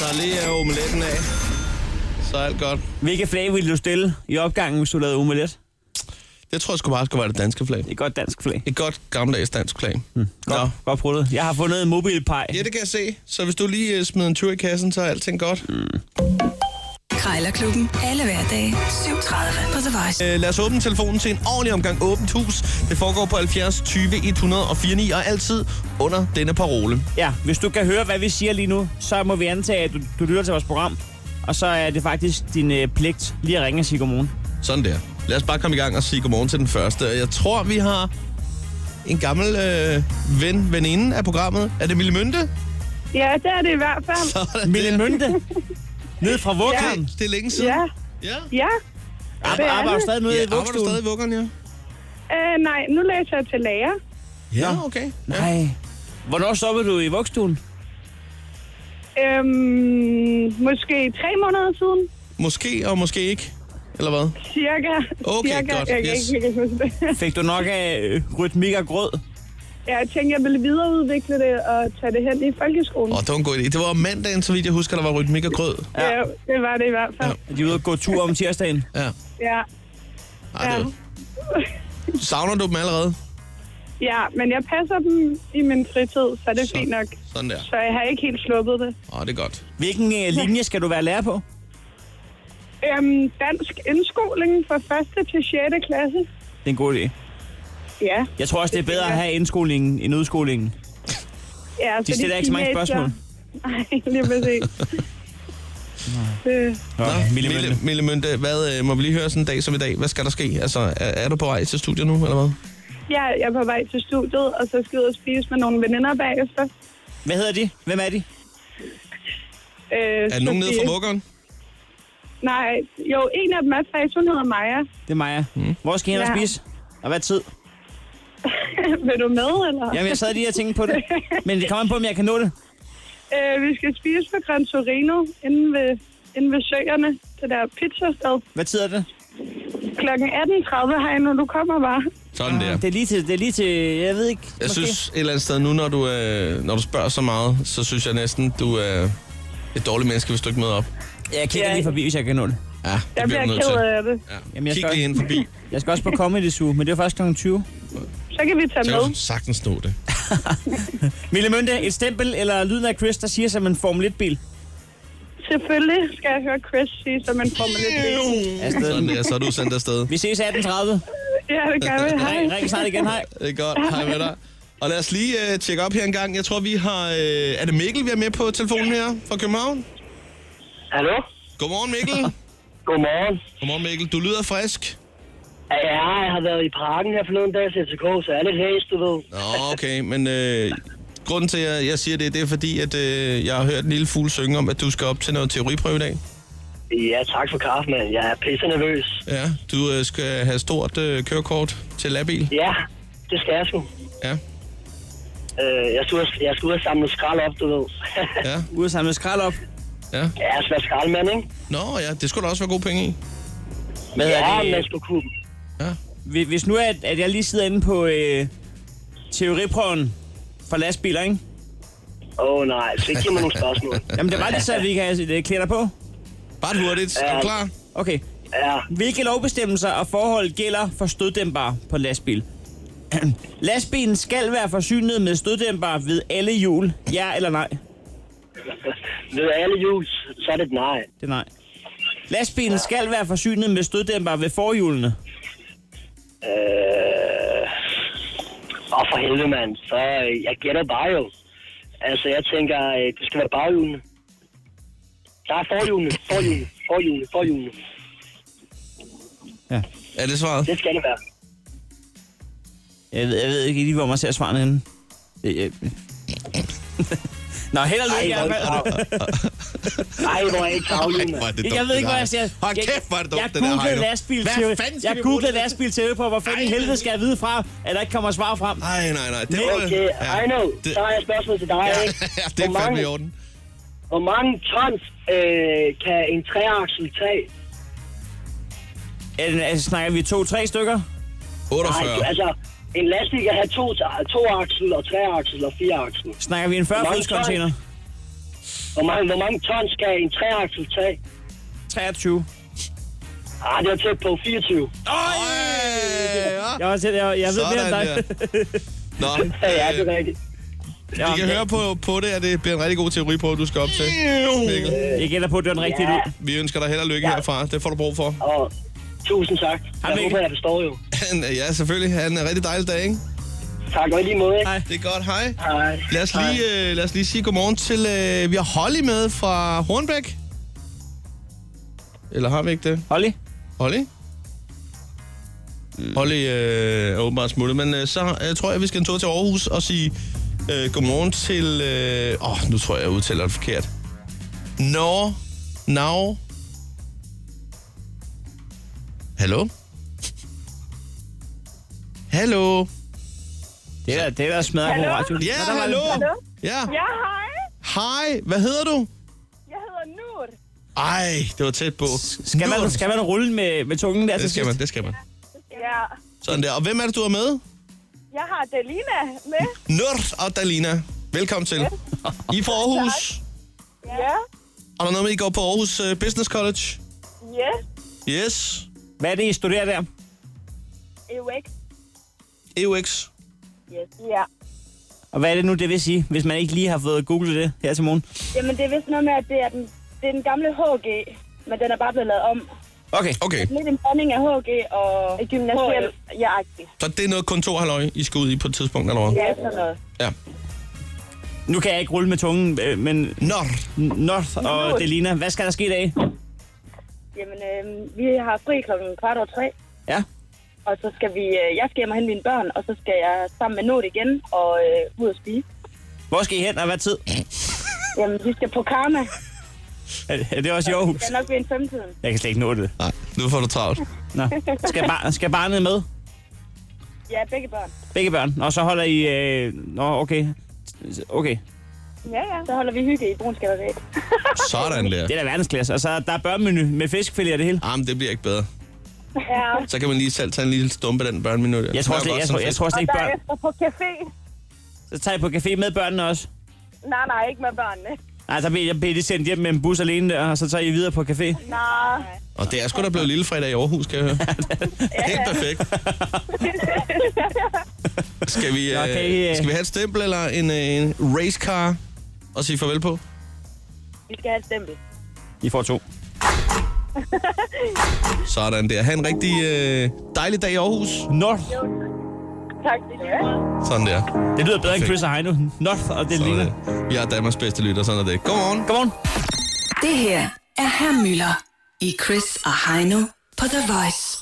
[SPEAKER 2] Der er lige øh, omeletten af. Så er alt godt.
[SPEAKER 3] Hvilke flag ville du stille i opgangen, hvis du lavede omelet?
[SPEAKER 2] Det tror jeg sgu bare skulle være det danske flag.
[SPEAKER 3] Et godt dansk flag.
[SPEAKER 2] Et godt gammeldags dansk flag. Hmm. Nå.
[SPEAKER 3] Godt, godt prøvet. Jeg har fundet en mobilpej.
[SPEAKER 2] Ja, det kan jeg se. Så hvis du lige øh, smider en tur i kassen, så er alting godt.
[SPEAKER 5] Krejlerklubben. Alle hverdage. 7.30 på The Voice.
[SPEAKER 2] Øh, lad os åbne telefonen til en ordentlig omgang åbent hus. Det foregår på 70 20 104 9, og altid under denne parole.
[SPEAKER 3] Ja, hvis du kan høre, hvad vi siger lige nu, så må vi antage, at du, du lytter til vores program. Og så er det faktisk din øh, pligt lige at ringe og sige godmorgen.
[SPEAKER 2] Sådan der. Lad os bare komme i gang og sige godmorgen til den første. Jeg tror, vi har en gammel øh, ven, veninde af programmet. Er det Mille Mynte?
[SPEAKER 8] Ja, det er det i hvert fald.
[SPEAKER 2] Sådan
[SPEAKER 3] Mille
[SPEAKER 2] der.
[SPEAKER 3] Mønte, ned fra Vuggen.
[SPEAKER 2] Det, det er længe siden.
[SPEAKER 8] Ja,
[SPEAKER 2] ja.
[SPEAKER 8] ja.
[SPEAKER 3] Ar-
[SPEAKER 8] det er
[SPEAKER 3] arbejder
[SPEAKER 8] det.
[SPEAKER 3] stadig nede
[SPEAKER 2] ja
[SPEAKER 3] i
[SPEAKER 2] arbejder du
[SPEAKER 3] vugstuen.
[SPEAKER 2] stadig i vuggeren, ja?
[SPEAKER 8] Øh, nej, nu læser jeg til lærer.
[SPEAKER 2] Ja, okay. Ja.
[SPEAKER 3] Nej. Hvornår stoppede du i vugstuen?
[SPEAKER 8] Øhm, måske tre måneder siden,
[SPEAKER 2] Måske og måske ikke. Eller hvad?
[SPEAKER 8] cirka.
[SPEAKER 2] Okay,
[SPEAKER 8] cirka.
[SPEAKER 2] godt,
[SPEAKER 8] Jeg kan
[SPEAKER 2] yes.
[SPEAKER 8] ikke helt huske det.
[SPEAKER 3] Fik du nok af øh, rytmik og grød?
[SPEAKER 8] Ja, Jeg tænkte, jeg ville videreudvikle det og tage det hen i folkeskolen.
[SPEAKER 2] Åh, det var en god idé. Det var om mandagen, så vidt jeg husker, der var rytmik og grød.
[SPEAKER 8] Ja. ja, det var det i hvert fald.
[SPEAKER 3] De er ude og gå tur om tirsdagen.
[SPEAKER 2] Ja.
[SPEAKER 8] Ja.
[SPEAKER 2] Ej, det var... Savner du dem allerede?
[SPEAKER 8] ja, men jeg passer dem i min fritid, så det er
[SPEAKER 2] Så-
[SPEAKER 8] fint nok.
[SPEAKER 2] Sådan der.
[SPEAKER 8] Så jeg har ikke helt sluppet det.
[SPEAKER 2] Åh, det er godt.
[SPEAKER 3] Hvilken øh, linje skal du være lærer på?
[SPEAKER 8] Øhm, dansk indskoling fra 1. til 6. klasse.
[SPEAKER 3] Det er en god idé.
[SPEAKER 8] Ja,
[SPEAKER 3] Jeg tror også, det er bedre at
[SPEAKER 8] tænker
[SPEAKER 3] have indskolingen end udskolingen.
[SPEAKER 8] ja så
[SPEAKER 3] De stiller ikke så mange spørgsmål.
[SPEAKER 8] Nej, lige præcis. det,
[SPEAKER 3] Nå, Mille
[SPEAKER 2] Mille,
[SPEAKER 3] Mønte.
[SPEAKER 2] Mille Mønte, hvad, øh, må vi lige høre sådan en dag som i dag? Hvad skal der ske? Altså, er, er du på vej til studiet nu, eller hvad?
[SPEAKER 8] ja, jeg er på vej til studiet, og så skal jeg ud og spise med nogle veninder bagefter.
[SPEAKER 3] Hvad hedder de? Hvem er de?
[SPEAKER 8] Øh,
[SPEAKER 2] Er der nogen nede fra
[SPEAKER 8] fordi-
[SPEAKER 2] vuggeren?
[SPEAKER 8] Nej, jo, en af dem er faktisk, hun hedder Maja.
[SPEAKER 3] Det er Maja. Mm. Hvor skal I hen og
[SPEAKER 8] Ja.
[SPEAKER 3] spise? Og hvad tid?
[SPEAKER 8] Vil du med, eller?
[SPEAKER 3] Jamen, jeg sad lige og tænkte på det. Men det kommer an på, om jeg kan nå det.
[SPEAKER 8] Øh, vi skal spise på Gran Torino inde ved, inde ved søerne, det der pizzasted.
[SPEAKER 3] Hvad tid er det?
[SPEAKER 8] Klokken 18.30 har jeg nu, du kommer bare.
[SPEAKER 2] Sådan der.
[SPEAKER 3] Det er lige til, det er lige til jeg ved ikke.
[SPEAKER 2] Jeg synes et eller andet sted nu, når du, øh, når du spørger så meget, så synes jeg næsten, du er et dårligt menneske, hvis du ikke møder op.
[SPEAKER 3] Jeg kigger lige forbi, hvis jeg kan nå det.
[SPEAKER 2] Ja, det
[SPEAKER 8] Jeg
[SPEAKER 2] bliver
[SPEAKER 8] bliver
[SPEAKER 2] du nødt
[SPEAKER 8] ked
[SPEAKER 2] til.
[SPEAKER 8] af det.
[SPEAKER 2] Ja.
[SPEAKER 3] Jamen, jeg
[SPEAKER 2] Kig
[SPEAKER 3] skal-
[SPEAKER 2] lige ind forbi.
[SPEAKER 3] Jeg skal også på Comedy Zoo, men det er først kl. 20.
[SPEAKER 8] Så kan vi tage
[SPEAKER 2] Så
[SPEAKER 8] med.
[SPEAKER 2] kan du sagtens nå det.
[SPEAKER 3] Mille Mønte, et stempel eller lyden af Chris, der siger som en Formel 1-bil.
[SPEAKER 8] Selvfølgelig skal jeg høre Chris sige, så man får mig lidt til.
[SPEAKER 3] Afsted.
[SPEAKER 2] Sådan der, så er du sendt afsted.
[SPEAKER 3] Vi ses 18.30.
[SPEAKER 8] Ja, det gør vi. Hej.
[SPEAKER 3] Ring, ring snart igen, hej.
[SPEAKER 2] Det er Øh, godt. Hej med dig. Og lad os lige øh, tjekke op her en gang. Jeg tror, vi har... Øh, er det Mikkel, vi har med på telefonen her fra København?
[SPEAKER 12] Hallo?
[SPEAKER 2] Godmorgen, Mikkel.
[SPEAKER 12] Godmorgen.
[SPEAKER 2] Godmorgen, Mikkel. Du lyder frisk.
[SPEAKER 12] Ja, jeg har været i parken her forleden dag til FCK, så jeg er lidt hæs, du ved.
[SPEAKER 2] Nå, okay, men øh, grunden til, at jeg siger det, det er fordi, at øh, jeg har hørt en lille fugl synge om, at du skal op til noget teoriprøve i dag.
[SPEAKER 12] Ja, tak for kaffe, mand. Jeg er pisse nervøs.
[SPEAKER 2] Ja, du øh, skal have stort øh, kørekort til labil.
[SPEAKER 12] Ja, det skal jeg sgu.
[SPEAKER 2] Ja,
[SPEAKER 12] Øh, jeg, skulle, jeg skulle ud og samle skrald op, du ved.
[SPEAKER 2] ja,
[SPEAKER 3] Ude at samle skrald op.
[SPEAKER 2] ja.
[SPEAKER 12] ja, jeg skal være skraldmand, ikke?
[SPEAKER 2] Nå, ja, det skulle da også være gode penge i.
[SPEAKER 3] Hvad
[SPEAKER 12] Ja,
[SPEAKER 3] er
[SPEAKER 12] man
[SPEAKER 3] det?
[SPEAKER 12] skulle kunne.
[SPEAKER 3] Hvis- Hvis nu at, at jeg lige sidder inde på øh, teoriprøven for lastbiler, ikke?
[SPEAKER 12] Åh oh, nej, så ikke giver mig nogle spørgsmål.
[SPEAKER 3] Jamen, det var lige så, at vi kan øh, klæde dig på.
[SPEAKER 2] Bare hurtigt. Er du klar?
[SPEAKER 3] Okay.
[SPEAKER 12] Ja,
[SPEAKER 3] Hvilke lovbestemmelser og forhold gælder for støddæmpere på lastbil? Lastbilen skal være forsynet med støddæmpere ved alle hjul. Ja eller nej? Det
[SPEAKER 12] ved alle jul, så er det et nej.
[SPEAKER 3] er nej. Lastbilen skal være forsynet med støddæmpere ved forhjulene.
[SPEAKER 12] Øh... Og for helvede, mand. Så øh, jeg gætter bare jo. Altså, jeg tænker, øh, det skal være baghjulene. Der er forhjulene, forhjulene, forhjulene, forhjulene.
[SPEAKER 2] Er det svaret?
[SPEAKER 12] Det skal det være.
[SPEAKER 3] Jeg ved, jeg ved ikke lige, hvor man ser svarene henne. Øh, øh. Nå, held og lykke i hvert fald.
[SPEAKER 12] Nej, hvor er I tavlige, mand.
[SPEAKER 2] Hvor er
[SPEAKER 3] Jeg,
[SPEAKER 2] det dumt,
[SPEAKER 3] jeg ved ikke, hvad
[SPEAKER 2] det der.
[SPEAKER 3] jeg siger.
[SPEAKER 2] Hold
[SPEAKER 3] Jeg-
[SPEAKER 2] kæft, hvor er det dumt,
[SPEAKER 3] jeg
[SPEAKER 2] det der,
[SPEAKER 3] googlede
[SPEAKER 2] Heino.
[SPEAKER 3] lastbilteori.
[SPEAKER 2] Hvad fanden skal
[SPEAKER 3] Jeg
[SPEAKER 2] vi bruge
[SPEAKER 3] googlede
[SPEAKER 2] det til?
[SPEAKER 3] lastbilteori på, hvor fanden i
[SPEAKER 2] Ej,
[SPEAKER 3] helvede
[SPEAKER 2] men-
[SPEAKER 3] skal jeg vide fra, at der ikke kommer svar frem.
[SPEAKER 2] Nej, nej, nej. Det var,
[SPEAKER 12] Okay, I know. Så har jeg et spørgsmål til dig,
[SPEAKER 2] ja,
[SPEAKER 12] ikke?
[SPEAKER 2] ja, det er
[SPEAKER 12] Hvor
[SPEAKER 2] fandme
[SPEAKER 12] mange,
[SPEAKER 2] i orden.
[SPEAKER 12] hvor mange tons øh, kan en træaksel tage?
[SPEAKER 3] Øh, Altså, snakker vi to-tre stykker?
[SPEAKER 12] Nej,
[SPEAKER 2] 48.
[SPEAKER 12] altså, en lastbil kan have to, to aksel og tre aksel og fire aksel.
[SPEAKER 3] Snakker vi en 40
[SPEAKER 12] Hvor mange
[SPEAKER 3] fods container?
[SPEAKER 12] Hvor mange, hvor mange tons skal en træaksel tage?
[SPEAKER 3] 23.
[SPEAKER 12] Ah, det var tæt på 24.
[SPEAKER 2] Øj! Ja.
[SPEAKER 3] Jeg, var til, jeg, jeg ved mere
[SPEAKER 2] Sådan
[SPEAKER 3] end
[SPEAKER 2] der.
[SPEAKER 3] dig.
[SPEAKER 2] Nå,
[SPEAKER 12] Ja, ja, det
[SPEAKER 2] øh,
[SPEAKER 12] er rigtigt.
[SPEAKER 3] Ja,
[SPEAKER 2] vi kan høre på, på det, at det bliver en rigtig god teori på, at du skal op til. Mikkel,
[SPEAKER 3] Jeg gætter på, at det var den rigtige lyd.
[SPEAKER 2] vi ønsker dig held og lykke
[SPEAKER 12] Ja.
[SPEAKER 2] herfra. Det får du brug for.
[SPEAKER 12] Og tusind tak. Jeg
[SPEAKER 3] Mikkel.
[SPEAKER 12] håber, jeg forstår jo.
[SPEAKER 2] Ja, selvfølgelig. Ha' en rigtig dejlig dag, ikke?
[SPEAKER 12] Tak, og i lige måde. ikke?
[SPEAKER 3] Hej.
[SPEAKER 2] Det er godt. Hej.
[SPEAKER 12] Hej.
[SPEAKER 2] Lad os lige, øh, lad os lige sige godmorgen til... Øh, vi har Holly med fra Hornbæk. Eller har vi ikke det?
[SPEAKER 3] Holly?
[SPEAKER 2] Holly?
[SPEAKER 3] Mm.
[SPEAKER 2] Holly øh, er åbenbart smuttet, men øh, så øh, tror jeg, vi skal en tur til Aarhus og sige øh, godmorgen til... øh, Åh, øh, oh, nu tror jeg, jeg udtaler det forkert. Nå, now. Hallo? Hallo?
[SPEAKER 3] Det er der, det er der smadrer på
[SPEAKER 8] Hallo?
[SPEAKER 3] radioen.
[SPEAKER 2] Ja,
[SPEAKER 3] Nå, der var
[SPEAKER 2] hallo?
[SPEAKER 3] den.
[SPEAKER 8] Hallo?
[SPEAKER 2] Ja,
[SPEAKER 8] Ja, hej.
[SPEAKER 2] hej. Hvad hedder du?
[SPEAKER 8] Jeg hedder Nur.
[SPEAKER 2] Ej, det var tæt på.
[SPEAKER 3] Skal man, skal man rulle med, med tungen der til
[SPEAKER 2] Det skal man,
[SPEAKER 3] sidst?
[SPEAKER 2] det skal man.
[SPEAKER 8] Ja.
[SPEAKER 2] Sådan der. Og hvem er det, du er med?
[SPEAKER 8] Jeg har Delina med.
[SPEAKER 2] Nur og Dalina. Velkommen til. I er fra Aarhus.
[SPEAKER 8] Ja.
[SPEAKER 2] Og der er noget med, I går på Aarhus øh, Business College.
[SPEAKER 8] Yes.
[SPEAKER 2] Yes.
[SPEAKER 3] Hvad er det, I studerer der?
[SPEAKER 8] UX.
[SPEAKER 2] EUX.
[SPEAKER 8] Yes. Ja.
[SPEAKER 3] Og hvad er det nu, det vil sige, hvis man ikke lige har fået googlet det her til morgen?
[SPEAKER 8] Jamen, det er vist noget med, at det er den, det er den gamle HG, men den er bare blevet lavet om.
[SPEAKER 3] Okay.
[SPEAKER 2] Okay,
[SPEAKER 8] Lidt en blanding af HG og gymnasiel. Ja, agtig.
[SPEAKER 2] så det er noget kontorhalløj, I skal ud i på et tidspunkt, eller hvad?
[SPEAKER 8] Ja, sådan noget.
[SPEAKER 2] Ja.
[SPEAKER 3] Nu kan jeg ikke rulle med tungen, øh, men
[SPEAKER 2] Nur.
[SPEAKER 3] North og Delina, hvad skal der ske i dag?
[SPEAKER 8] Jamen, øh, vi har fri klokken kvart over tre.
[SPEAKER 3] Ja.
[SPEAKER 8] Og så skal vi, øh, jeg skal hjem og hente mine børn, og så skal jeg sammen med Nod igen og øh, ud og spise.
[SPEAKER 3] Hvor skal I hen, og hvad tid?
[SPEAKER 8] Jamen, vi skal på Karma.
[SPEAKER 3] Er, er det også i Aarhus?
[SPEAKER 8] Det er nok ved en femtiden.
[SPEAKER 3] Jeg kan slet ikke nå det.
[SPEAKER 2] Nej, nu får du travlt.
[SPEAKER 3] Nå. Skal, bar, skal barnet med?
[SPEAKER 8] Ja, begge børn.
[SPEAKER 3] Begge børn. Og så holder I... Øh... Nå, okay. Okay.
[SPEAKER 8] Ja, ja. Så holder vi hygge i Bruns Galleri.
[SPEAKER 2] Sådan der.
[SPEAKER 3] Det er da verdensklasse. Og så er der er børnmenu med fiskfilet og det hele.
[SPEAKER 2] Jamen, det bliver ikke bedre.
[SPEAKER 8] Ja.
[SPEAKER 2] Så kan man lige selv tage en lille stumpe af den børnmenu. der.
[SPEAKER 3] Jeg tror
[SPEAKER 2] Smager
[SPEAKER 3] slet-
[SPEAKER 2] godt
[SPEAKER 3] jeg
[SPEAKER 2] som
[SPEAKER 3] tror- jeg
[SPEAKER 2] fisk.
[SPEAKER 3] tror slet
[SPEAKER 8] Og derefter på café.
[SPEAKER 3] Så tager jeg på café med børnene også.
[SPEAKER 8] Nej, nej, ikke med børnene.
[SPEAKER 3] Nej, så bliver jeg bliver de sendt hjem med en bus alene der, og så tager I videre på café.
[SPEAKER 8] Nej.
[SPEAKER 2] Og det er sgu da blevet lillefredag i Aarhus, kan jeg høre. Helt perfekt. Skal vi,
[SPEAKER 3] Nå, kan I,
[SPEAKER 2] okay,
[SPEAKER 3] øh,
[SPEAKER 2] øh, skal vi have et stempel eller en, øh, en racecar og sige farvel på?
[SPEAKER 8] Vi skal have et stempel.
[SPEAKER 3] I får to.
[SPEAKER 2] Sådan der. Ha' en rigtig øh, dejlig dag i Aarhus.
[SPEAKER 3] North.
[SPEAKER 8] Tak, det er
[SPEAKER 2] Sådan der.
[SPEAKER 3] Det lyder bedre end
[SPEAKER 2] Perfekt.
[SPEAKER 3] Chris og Heino. North og det
[SPEAKER 2] Sådan
[SPEAKER 3] ligner.
[SPEAKER 2] der. Vi er Danmarks bedste lytter, sådan er det. Godmorgen.
[SPEAKER 3] Godmorgen.
[SPEAKER 5] Det her er Herr Møller i Chris og Heino på The Voice.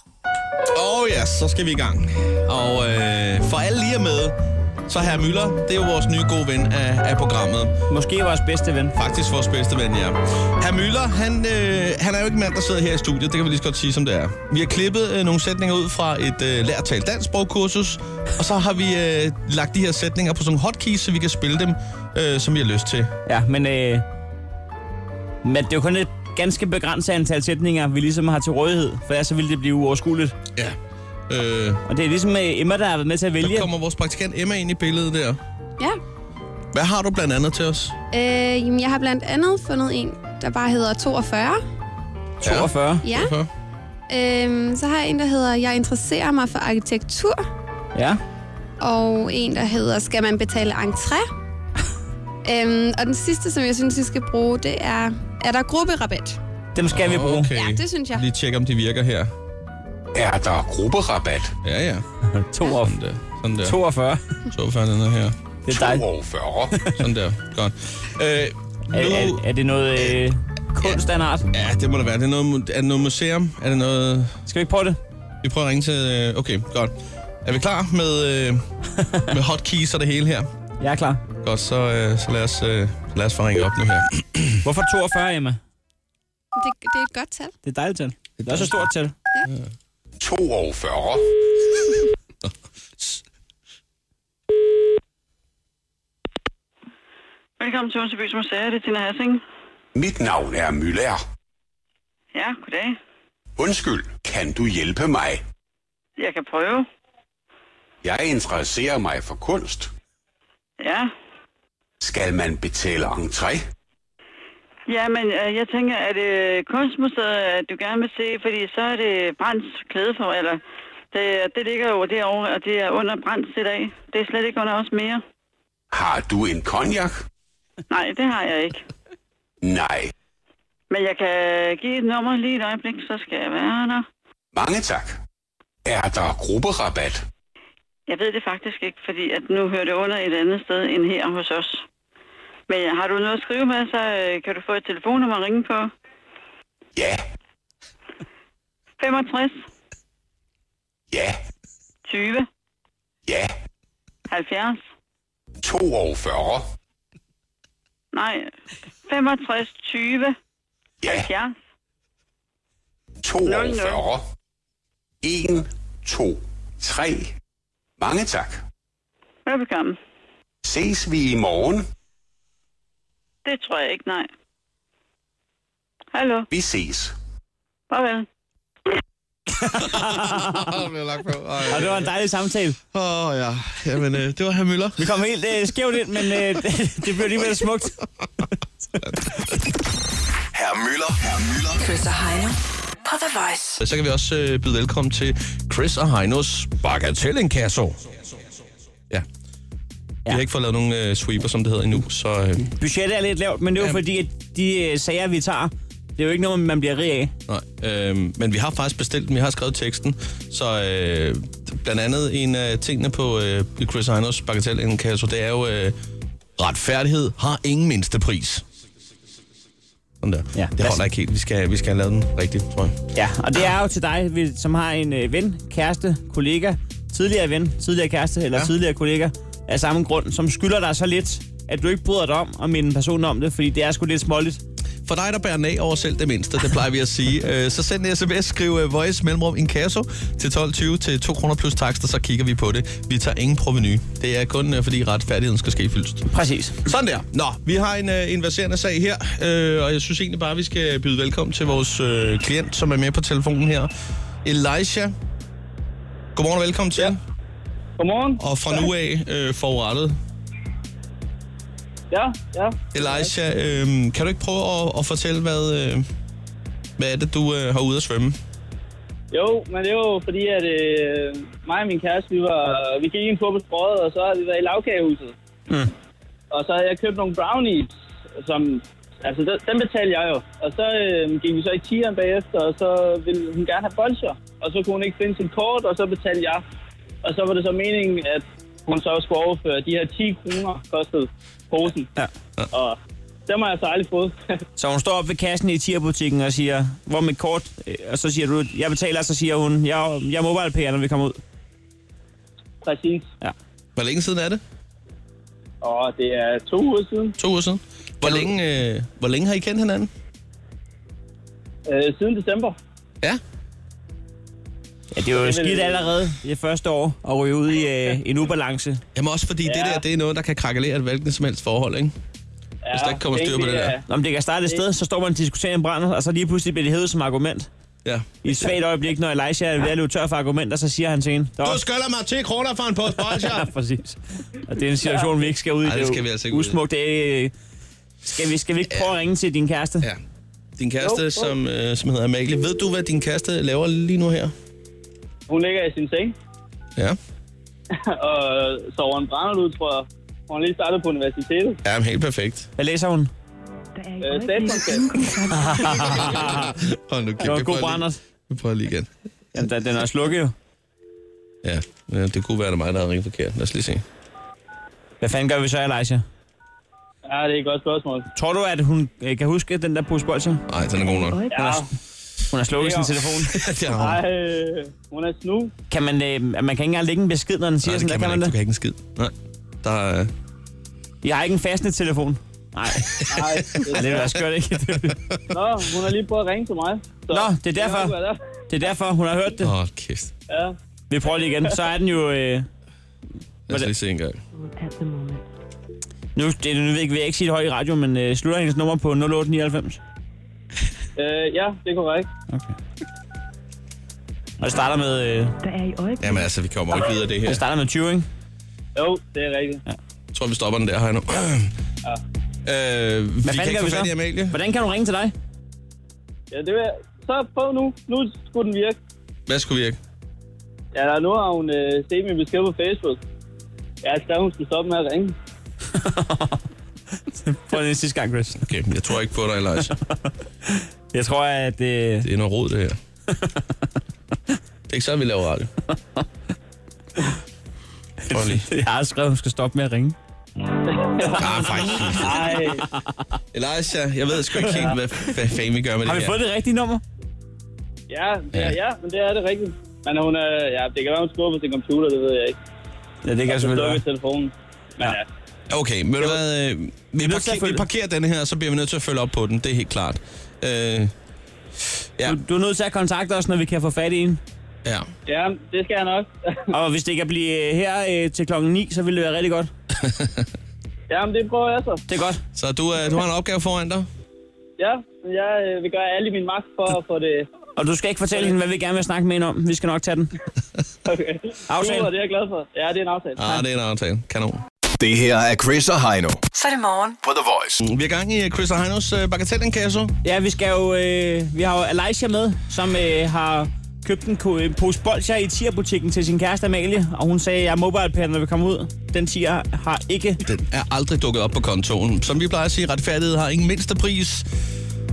[SPEAKER 2] Og oh ja, så skal vi i gang. Og øh, for alle lige er med, så herr Møller, det er jo vores nye gode ven af, af programmet.
[SPEAKER 3] Måske vores bedste ven.
[SPEAKER 2] Faktisk vores bedste ven, ja. Herr Møller, han, øh, han er jo ikke en mand, der sidder her i studiet. Det kan vi lige så godt sige, som det er. Vi har klippet øh, nogle sætninger ud fra et øh, lærtalt dansk sprogkursus, og så har vi øh, lagt de her sætninger på sådan nogle hotkeys, så vi kan spille dem, øh, som vi har lyst til.
[SPEAKER 3] Ja, men, øh, men det er jo kun et ganske begrænset antal sætninger, vi ligesom har til rådighed, for ellers så ville det blive uoverskueligt.
[SPEAKER 2] Ja. Øh,
[SPEAKER 3] Og det er ligesom øh, Emma, der har været med til at
[SPEAKER 2] der
[SPEAKER 3] vælge.
[SPEAKER 2] kommer vores praktikant Emma ind i billedet der.
[SPEAKER 6] Ja.
[SPEAKER 2] Hvad har du blandt andet til os?
[SPEAKER 6] Øh, jamen, jeg har blandt andet fundet en, der bare hedder 42.
[SPEAKER 3] 42.
[SPEAKER 6] Ja.
[SPEAKER 2] Hvorfor?
[SPEAKER 6] Øhm, så har jeg en, der hedder Jeg interesserer mig for arkitektur.
[SPEAKER 3] Ja.
[SPEAKER 6] Og en, der hedder Skal man betale entré? øhm, og den sidste, som jeg synes, vi skal bruge, det er Er der grupperabat?
[SPEAKER 3] Dem skal vi bruge.
[SPEAKER 2] Okay.
[SPEAKER 6] Ja, det synes jeg.
[SPEAKER 2] Lige tjekke, om de virker her.
[SPEAKER 4] Er der grupperabat?
[SPEAKER 2] Ja, ja.
[SPEAKER 3] 42.
[SPEAKER 2] Sådan der. Sådan der.
[SPEAKER 3] 42.
[SPEAKER 2] Så fanden er her.
[SPEAKER 3] Det er dejligt.
[SPEAKER 4] 42.
[SPEAKER 2] Sådan der. Godt. Øh, nu,
[SPEAKER 3] Er, er, er det noget øh, kunst af en art?
[SPEAKER 2] Ja, det må det være. Det er, noget, mu- er det noget museum? Er det noget...
[SPEAKER 3] Skal vi ikke prøve det?
[SPEAKER 2] Vi prøver at ringe til... øh, Okay, godt. Er vi klar med, øh, med hotkeys og det hele her?
[SPEAKER 3] Jeg er klar.
[SPEAKER 2] Godt, så, øh, så lad, os, øh, så lad os få ringet op nu her.
[SPEAKER 3] Hvorfor 42, Emma?
[SPEAKER 6] Det, det er et godt tal.
[SPEAKER 3] Det er dejligt tal. Det er også et stort tal.
[SPEAKER 2] Mm.
[SPEAKER 4] 42.
[SPEAKER 13] Velkommen til Onsebys Museum. Det er Tina Hassing.
[SPEAKER 4] Mit navn er Møller.
[SPEAKER 13] Ja, goddag.
[SPEAKER 4] Undskyld, kan du hjælpe mig?
[SPEAKER 13] Jeg kan prøve.
[SPEAKER 4] Jeg interesserer mig for kunst.
[SPEAKER 13] Ja.
[SPEAKER 4] Skal man betale entré?
[SPEAKER 13] Ja, men øh, jeg tænker, at øh, kunstmuseet, at du gerne vil se, fordi så er det Brands klædefor, eller det, det ligger jo derovre, og det er under Brands i dag. Det er slet ikke under os mere.
[SPEAKER 4] Har du en cognac?
[SPEAKER 13] Nej, det har jeg ikke.
[SPEAKER 4] Nej.
[SPEAKER 13] Men jeg kan give et nummer lige et øjeblik, så skal jeg være der.
[SPEAKER 4] Mange tak. Er der grupperabat?
[SPEAKER 13] Jeg ved det faktisk ikke, fordi at nu hører det under et andet sted end her hos os. Men øh, har du noget at skrive med, så øh, kan du få et telefonnummer at ringe på.
[SPEAKER 4] Ja,
[SPEAKER 13] 65
[SPEAKER 4] ja,
[SPEAKER 13] 20
[SPEAKER 4] ja.
[SPEAKER 13] 70
[SPEAKER 4] 42.
[SPEAKER 13] Nej, 65 20
[SPEAKER 4] Ja,
[SPEAKER 13] 70
[SPEAKER 4] 42. 1, 2, 3. Mange tak.
[SPEAKER 13] Velbekomme.
[SPEAKER 4] Ses vi i morgen?
[SPEAKER 13] Det tror jeg ikke, nej. Hallo,
[SPEAKER 4] Vi ses.
[SPEAKER 13] farvel.
[SPEAKER 2] Åh, oh, lagt på. Åh,
[SPEAKER 3] Og det var en dejlig samtale.
[SPEAKER 2] oh, ja. Jamen, øh, det var herr Møller.
[SPEAKER 3] Vi kom helt øh, skævt ind, men øh, det blev alligevel smukt.
[SPEAKER 4] Herr Møller. Herr Møller.
[SPEAKER 5] Chris og Heino på The Voice.
[SPEAKER 2] Så kan vi også øh, byde velkommen til Chris og Heinos Bagatellinkasso. Ja. Vi har ikke fået lavet nogen øh, sweeper, som det hedder endnu, så... Øh,
[SPEAKER 3] Budgettet er lidt lavt, men det er jo
[SPEAKER 2] Ja.
[SPEAKER 3] fordi, at de øh, sager, vi tager, det er jo ikke noget, man bliver rig af.
[SPEAKER 2] Nej, øh, men vi har faktisk bestilt den, vi har skrevet teksten, så øh, blandt andet en af tingene på øh, Chris Heinos bagatellinkasso, det er jo øh, retfærdighed har ingen mindste pris. Sådan der.
[SPEAKER 3] Ja,
[SPEAKER 2] Ja, det
[SPEAKER 3] lad os-
[SPEAKER 2] holder ikke helt. Vi skal, vi skal have lavet den rigtigt, tror jeg.
[SPEAKER 3] Ja, og det er jo til dig, vi- som har en øh, ven, kæreste, kollega, tidligere ven, tidligere kæreste eller ja.
[SPEAKER 2] Ja.
[SPEAKER 3] tidligere kollega af samme grund, som skylder dig så lidt, at du ikke bryder dig om at minde en person om det, fordi det er sgu lidt småligt.
[SPEAKER 2] For dig, der bærer nag over selv det mindste, det plejer vi at sige. Øh, Så send en sms, skriv øh, voice mellemrum inkasso til 12.20 til 2 kroner plus takster, så kigger vi på det. Vi tager ingen proveny. Det er kun øh, fordi retfærdigheden skal ske fyldst.
[SPEAKER 3] Præcis.
[SPEAKER 2] Sådan der. Nå, vi har en, øh, en verserende sag her, øh, og jeg synes egentlig bare, vi skal byde velkommen til vores øh, klient, som er med på telefonen her. Elisha. Godmorgen og velkommen til. Ja.
[SPEAKER 14] Godmorgen.
[SPEAKER 2] Og fra nu af øh, forurettet.
[SPEAKER 14] Ja, ja.
[SPEAKER 2] Elisha, øh, kan du ikke prøve at, at fortælle, hvad, øh, hvad er det, du øh, har ude at svømme?
[SPEAKER 14] Jo, men det var jo fordi, at øh, mig og min kæreste, vi, var, vi gik en tur på strøget, og så havde vi været i lavkagehuset.
[SPEAKER 2] Mm.
[SPEAKER 14] Og så havde jeg købt nogle brownies, som... Altså, den- den betalte jeg jo. Og så øh, gik vi så i tieren bagefter, og så ville hun gerne have bolcher. Og så kunne hun ikke finde sit kort, og så betalte jeg. Og så var det så meningen, at hun så skulle overføre de her 10 kroner, kostede posen.
[SPEAKER 3] Ja.
[SPEAKER 14] Og dem har jeg så aldrig fået.
[SPEAKER 3] Så hun står op ved kassen i tierbutikken og siger, hvor er mit kort? Øh, Og så siger du, jeg betaler, og så siger hun, jeg, jeg mobile pay, når vi kommer ud.
[SPEAKER 14] Præcis.
[SPEAKER 3] Ja.
[SPEAKER 2] Hvor længe siden er det?
[SPEAKER 14] Og det er to uger siden.
[SPEAKER 2] To uger siden. Hvor, længe, øh, hvor længe har I kendt hinanden?
[SPEAKER 14] Øh, siden december.
[SPEAKER 2] Ja.
[SPEAKER 3] Ja, det er jo
[SPEAKER 2] Det er vel-
[SPEAKER 3] skidt
[SPEAKER 14] øh,
[SPEAKER 3] allerede det første år at ryge ud i øh, en ubalance.
[SPEAKER 2] Jamen også fordi ja. det der, det er noget, der kan krakkelere et hvilken som helst forhold, ikke? Hvis der ikke kommer styr på det der.
[SPEAKER 3] Nå, men det kan starte et sted, så står man og diskuterer en brand, og så lige pludselig bliver det hævet som argument.
[SPEAKER 2] Ja.
[SPEAKER 3] I et svagt øjeblik, når Elijah er ved at løbe tør for argumenter, så siger han til hende.
[SPEAKER 2] Du skylder mig 10 kroner for en pose bolcher.
[SPEAKER 3] Præcis. Og det er en situation, vi ikke skal ud i.
[SPEAKER 2] Ej, det
[SPEAKER 3] er jo
[SPEAKER 2] skal vi altså ikke ud i.
[SPEAKER 3] usmukt. Det er, øh, skal, vi, skal vi ikke prøve at ringe til din kæreste?
[SPEAKER 2] Ja. Din kæreste, som, øh, som hedder Amalie. Ved du, hvad din kæreste laver lige nu her?
[SPEAKER 14] Hun ligger i sin seng
[SPEAKER 2] Ja.
[SPEAKER 14] og øh, sover en brænder ud, tror jeg. Hun er lige startet på universitetet.
[SPEAKER 2] Ja, men helt perfekt.
[SPEAKER 3] Hvad læser hun?
[SPEAKER 14] Øh, statskundskab.
[SPEAKER 2] Hold nu,
[SPEAKER 3] Det var en god brændert.
[SPEAKER 2] Vi prøver lige igen.
[SPEAKER 3] Jamen, da- den er slukket jo.
[SPEAKER 2] Ja, ja, det kunne være, det er mig, der havde ringet forkert. Lad os lige se.
[SPEAKER 3] Hvad fanden gør vi så, Elijah?
[SPEAKER 14] Ja, det er et godt spørgsmål.
[SPEAKER 3] Tror du, at hun øh, kan huske den der pose bolcher?
[SPEAKER 2] Nej, den er god nok.
[SPEAKER 3] Hun har, hun har slukket sin
[SPEAKER 14] Ja.
[SPEAKER 3] telefon.
[SPEAKER 2] det har
[SPEAKER 14] Nej, øh, hun er snu.
[SPEAKER 3] Kan man, øh, man kan ikke engang lægge en besked, når den siger
[SPEAKER 2] Nej, det
[SPEAKER 3] sådan,
[SPEAKER 2] kan
[SPEAKER 3] der
[SPEAKER 2] man
[SPEAKER 3] kan
[SPEAKER 2] ikke. Du
[SPEAKER 3] man
[SPEAKER 2] kan ikke en skid. Nej. Der, øh,
[SPEAKER 3] det. Jeg har ikke en fastnet telefon. Nej.
[SPEAKER 14] Nej,
[SPEAKER 3] Ej, det er da skørt, ikke?
[SPEAKER 14] Nå, hun har lige prøvet at ringe til mig. Så
[SPEAKER 3] Nå, det er derfor.
[SPEAKER 14] håber jeg da.
[SPEAKER 3] Det er derfor, hun har hørt det.
[SPEAKER 2] Åh, oh, kæft.
[SPEAKER 14] Ja.
[SPEAKER 3] Vi prøver lige igen. Så er den jo... Øh,
[SPEAKER 2] Lad os lige se en gang.
[SPEAKER 3] nu, det, nu vil jeg ikke, vil jeg ikke sige det højt i radio, men øh, slutter hendes nummer på 0899.
[SPEAKER 14] Øh, ja, det er korrekt.
[SPEAKER 3] Og det starter med... Øh,
[SPEAKER 14] Der er i øjeblikket.
[SPEAKER 2] Jamen altså, vi kommer ikke videre af det her.
[SPEAKER 3] det starter med 20, ikke?
[SPEAKER 14] Jo, det er rigtigt.
[SPEAKER 2] Jeg tror, vi stopper den der her nu.
[SPEAKER 14] Ja.
[SPEAKER 2] Øh, vi
[SPEAKER 3] Hvad
[SPEAKER 2] kan
[SPEAKER 3] fanden gør
[SPEAKER 2] ikke få
[SPEAKER 3] vi
[SPEAKER 2] fat i
[SPEAKER 3] så?
[SPEAKER 2] Amalie.
[SPEAKER 3] Hvordan kan hun ringe til dig?
[SPEAKER 14] Ja, det vil jeg. Så prøv nu. Nu skulle den virke.
[SPEAKER 2] Hvad skulle virke?
[SPEAKER 14] Ja, der, nu har hun øh, set min besked på Facebook. Jeg skrev, hun skulle stoppe med at ringe.
[SPEAKER 3] Prøv den sidste gang, Chris.
[SPEAKER 2] Okay, jeg tror ikke på dig, Elijah.
[SPEAKER 3] Jeg tror, at... Øh,
[SPEAKER 2] Det er noget rod, det her. det er ikke sådan, vi laver radio. Prøv lige.
[SPEAKER 3] jeg har skrevet, at hun skal stoppe med at ringe.
[SPEAKER 2] Ah, faktisk.
[SPEAKER 14] Nej,
[SPEAKER 2] Elijah, jeg ved sgu ikke helt, hvad, hvad fanden vi gør med
[SPEAKER 3] Har vi
[SPEAKER 2] det her.
[SPEAKER 3] fået det rigtige nummer?
[SPEAKER 14] ja, det er, ja, men det er det rigtigt. Men hun er, ja, det kan være, hun skubber på sin computer, det ved jeg ikke.
[SPEAKER 3] Ja, det kan jeg
[SPEAKER 14] Så
[SPEAKER 3] selvfølgelig
[SPEAKER 14] slukker
[SPEAKER 3] være.
[SPEAKER 14] telefonen. Men ja.
[SPEAKER 2] Okay, men du hvad, øh, vi,
[SPEAKER 3] nødt til at
[SPEAKER 2] parker, vi
[SPEAKER 3] følge-
[SPEAKER 2] parkerer denne her, og så bliver vi nødt til at følge op på den, det er helt klart. Øh, ja,
[SPEAKER 3] Du, du er nødt til at kontakte os, når vi kan få fat i en.
[SPEAKER 2] ja.
[SPEAKER 14] ja, det skal jeg nok.
[SPEAKER 3] Og hvis det kan blive øh, her øh, til klokken 9, så vil det være rigtig godt.
[SPEAKER 14] Jamen, det prøver jeg så.
[SPEAKER 3] Det er godt.
[SPEAKER 2] Så du, øh, du har en opgave foran dig?
[SPEAKER 14] Ja, men jeg øh, vil gøre alt i min magt for at få det...
[SPEAKER 3] Og du skal ikke fortælle hende, hvad vi gerne vil snakke med hende om. Vi skal nok tage den.
[SPEAKER 14] Okay.
[SPEAKER 3] Aftale.
[SPEAKER 14] Super, det er jeg glad for. Ja, det er en aftale.
[SPEAKER 2] Ah, det er en aftale. Kanon.
[SPEAKER 15] Det her er Chris og Heino
[SPEAKER 5] Så er det morgen.
[SPEAKER 15] på The Voice.
[SPEAKER 2] Vi er i gang i øh, Chris og Heinos øh, bagatellenkasse.
[SPEAKER 3] Ja, vi skal jo... Øh, vi har jo Alicia med, som øh, har købt en ko- en pose bolcher i tierbutikken til sin kæreste Amalie, og hun sagde, at jeg er mobile når vi kommer ud. Den tier har ikke...
[SPEAKER 2] Den er aldrig dukket op på kontoen. Som vi plejer at sige, retfærdighed har ingen mindste pris.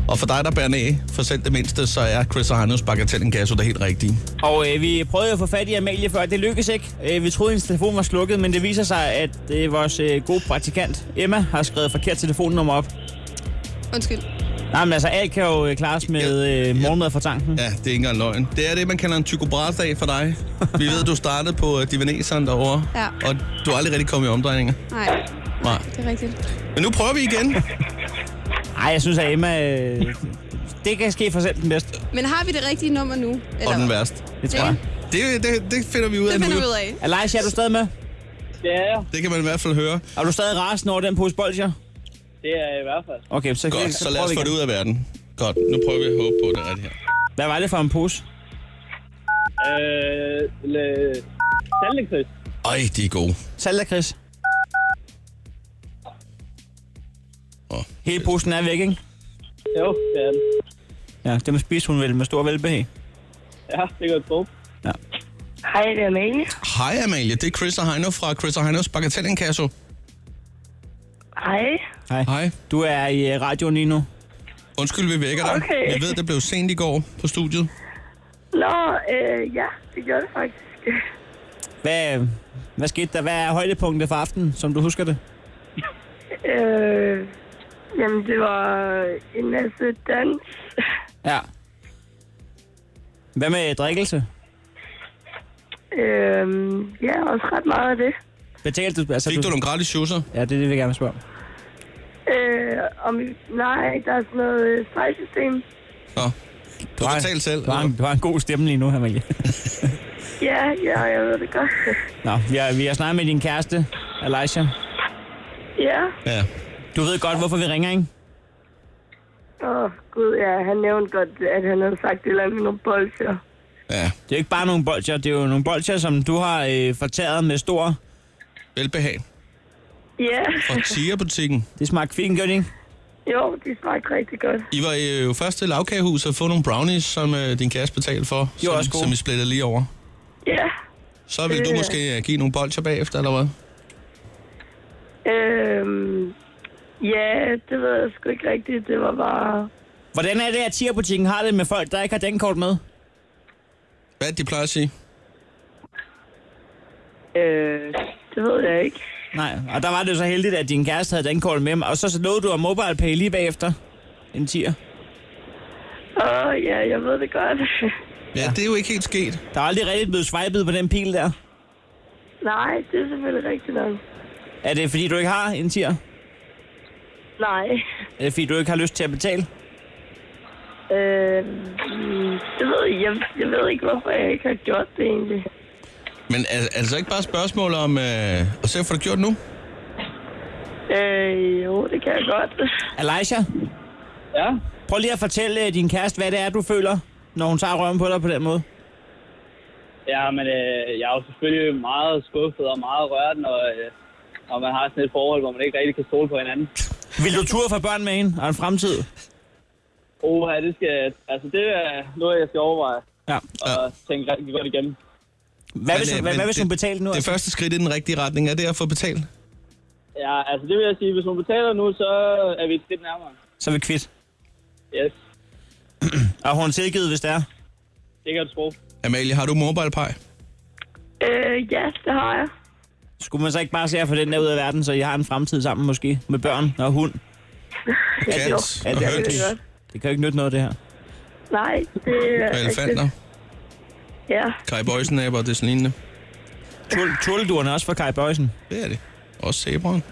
[SPEAKER 2] Og for dig, der bærer næ, for selv det mindste, så er Chris og Heinos bagatellenkasse der helt rigtige.
[SPEAKER 3] Og øh, vi prøvede at få fat i Amalie før, det lykkedes ikke. Øh, vi troede, hendes telefon var slukket, men det viser sig, at øh, vores øh, gode praktikant Emma har skrevet forkert telefonnummer op.
[SPEAKER 6] Undskyld.
[SPEAKER 3] Nej, men altså, alt kan jo øh, klares med øh, morgenmad fra tanken.
[SPEAKER 2] Ja, det er ikke engang løgn. Det er det, man kalder en Tycho Brahe-dag for dig. Vi ved, du startede på øh, divaneseren derovre,
[SPEAKER 6] Ja.
[SPEAKER 2] og du har aldrig rigtig kommet i omdrejninger.
[SPEAKER 6] Nej,
[SPEAKER 2] Nej.
[SPEAKER 6] det er rigtigt.
[SPEAKER 2] Men nu prøver vi igen.
[SPEAKER 3] Nej, jeg synes, at Emma... Øh, det kan ske for selv den bedste.
[SPEAKER 6] Men har vi det rigtige nummer nu?
[SPEAKER 2] Og den værste.
[SPEAKER 3] Det tror jeg.
[SPEAKER 2] Det, det, det finder vi ud af
[SPEAKER 6] Det
[SPEAKER 2] nu.
[SPEAKER 6] finder vi ud af.
[SPEAKER 3] Alice, er du stadig med?
[SPEAKER 14] Ja,
[SPEAKER 2] Det kan man i hvert fald høre.
[SPEAKER 3] Er du stadig rasende over den pose bolcher?
[SPEAKER 14] det er jeg i hvert fald.
[SPEAKER 3] Okay, så,
[SPEAKER 2] Godt, så lad
[SPEAKER 3] prøver
[SPEAKER 2] os
[SPEAKER 3] vi
[SPEAKER 2] få det
[SPEAKER 3] igen.
[SPEAKER 2] ud af verden. Godt, nu prøver vi at håbe på at det er rigtigt her.
[SPEAKER 3] Hvad var det for en pose?
[SPEAKER 14] Øh, le- Tandlægkryds.
[SPEAKER 2] Ej, de er gode.
[SPEAKER 3] Salda, Chris. Hele posen er væk, ikke?
[SPEAKER 14] Jo, det er den.
[SPEAKER 3] Ja, dem spiser hun vel med stor velbehag.
[SPEAKER 14] Ja, det går godt.
[SPEAKER 16] Hej, det er Amalie.
[SPEAKER 2] Hej Amalie, det er Chris og Heino fra Chris og Heinos Bagatellinkasso.
[SPEAKER 16] Hej.
[SPEAKER 3] Hej.
[SPEAKER 2] Hej.
[SPEAKER 3] Du er i øh, radioen lige nu.
[SPEAKER 2] Undskyld, vi vækker dig.
[SPEAKER 16] Okay.
[SPEAKER 2] Jeg ved, det blev sent i går på studiet.
[SPEAKER 16] Nå, øh, ja, det gør det faktisk.
[SPEAKER 3] Hvad, øh, hvad skete der? Hvad er højdepunktet for aftenen, som du husker det?
[SPEAKER 16] Øh, jamen, det var en masse dans.
[SPEAKER 3] Ja. Hvad med drikkelse?
[SPEAKER 16] Øh, ja, også ret meget af det.
[SPEAKER 3] Betalte du? Altså, Fik du,
[SPEAKER 2] nogle gratis schusser?
[SPEAKER 3] Ja, det er det, vi gerne vil spørge om.
[SPEAKER 16] Øh, om, nej, der er sådan noget øh, stregsystem.
[SPEAKER 2] Du har betalt selv.
[SPEAKER 3] Du har, en, du har en god stemme lige nu, Amalie.
[SPEAKER 16] Ja, ja, jeg ved det godt.
[SPEAKER 3] Nå, vi har, vi har snakket med din kæreste, Alicia.
[SPEAKER 16] ja,
[SPEAKER 2] Ja.
[SPEAKER 3] Du ved godt, hvorfor vi ringer, ikke?
[SPEAKER 16] åh oh, gud, ja, han nævnte godt, at han havde sagt det eller andet med nogle bolcher.
[SPEAKER 2] Ja.
[SPEAKER 3] Det er jo ikke bare nogle bolcher, det er jo nogle bolcher, som du har øh, fortæret med stor...
[SPEAKER 2] Velbehag.
[SPEAKER 16] Ja,
[SPEAKER 2] Fra Tia-butikken.
[SPEAKER 3] Det smagte fint, gør det ikke?
[SPEAKER 16] jo, de smagte rigtig godt.
[SPEAKER 2] I var øh, jo først til lavkagehuset og få nogle brownies, som øh, din kæreste betalte for.
[SPEAKER 3] var
[SPEAKER 2] som,
[SPEAKER 3] også gode.
[SPEAKER 2] Som I splittede lige over.
[SPEAKER 16] Ja,
[SPEAKER 2] Så vil du
[SPEAKER 16] Øh.
[SPEAKER 2] måske øh, give nogle bolcher bagefter, eller hvad?
[SPEAKER 16] Øhm, ja, det ved jeg sgu ikke rigtigt. Det var bare...
[SPEAKER 3] Hvordan er det, at Tia-butikken har det med folk, der ikke har dankort med?
[SPEAKER 2] Hvad er det, de plejer at sige?
[SPEAKER 16] Øh, det ved jeg ikke.
[SPEAKER 3] Nej, og der var det jo så heldigt, at din kæreste havde dankort med, og så lovede du at MobilePay lige bagefter en tier.
[SPEAKER 16] Åh, oh, ja, jeg ved det godt.
[SPEAKER 2] Ja, det er jo ikke helt sket.
[SPEAKER 3] Der er aldrig rigtig blevet swipet på den pil der.
[SPEAKER 16] Nej, det er selvfølgelig rigtigt nok.
[SPEAKER 3] Er det fordi, du ikke har en tier?
[SPEAKER 16] Nej.
[SPEAKER 3] Er det fordi, du ikke har lyst til at betale?
[SPEAKER 16] Øh, det ved jeg. jeg. Jeg ved ikke, hvorfor jeg ikke har gjort det egentlig.
[SPEAKER 2] Men er, er det så ikke bare et spørgsmål om øh, at se, hvad du gjort nu?
[SPEAKER 16] Øh, jo, det kan jeg godt.
[SPEAKER 3] Elijah,
[SPEAKER 14] Ja,
[SPEAKER 3] prøv lige at fortælle øh, din kæreste, hvad det er, du føler, når hun tager røven på dig på den måde.
[SPEAKER 14] Ja, men øh, jeg er jo selvfølgelig meget skuffet og meget rørt, når, øh, når man har sådan et forhold, hvor man ikke rigtig kan stole på hinanden.
[SPEAKER 3] Vil du ture for børn med hende og en fremtid?
[SPEAKER 14] Oha, det skal, altså det er noget, jeg skal overveje
[SPEAKER 3] Ja.
[SPEAKER 14] og tænke rigtig godt igennem.
[SPEAKER 3] Hvad hvis,
[SPEAKER 2] øh,
[SPEAKER 3] hvad, hvad hvis
[SPEAKER 2] det-
[SPEAKER 3] hun betalte nu?
[SPEAKER 2] Det
[SPEAKER 3] altså?
[SPEAKER 2] første skridt i den rigtige retning er det at få betalt.
[SPEAKER 14] Ja, altså det vil jeg sige, hvis hun betaler nu, så er vi et skridt nærmere.
[SPEAKER 3] Så er vi kvitt.
[SPEAKER 14] Yes,
[SPEAKER 3] Og hun er tilgivet, hvis det er.
[SPEAKER 14] det kan du tro.
[SPEAKER 2] Amalie, har du MobilePay?
[SPEAKER 16] Øh, ja, det har jeg.
[SPEAKER 3] Skulle man så ikke bare se at få den der ud af verden, så I har en fremtid sammen måske? Med børn og hund?
[SPEAKER 2] Kat
[SPEAKER 3] Ja,
[SPEAKER 2] og
[SPEAKER 3] det, er
[SPEAKER 16] Det
[SPEAKER 2] høns
[SPEAKER 16] er godt.
[SPEAKER 3] det kan jo ikke nytte noget, det her.
[SPEAKER 16] Nej, det er
[SPEAKER 2] og elefanter.
[SPEAKER 16] rigtigt. Ja,
[SPEAKER 2] Kai Bøjsenæber og det sådan lignende.
[SPEAKER 3] Tul- Tulleduren er også for Kai Bøjsen.
[SPEAKER 2] Det er det. Også zebraen.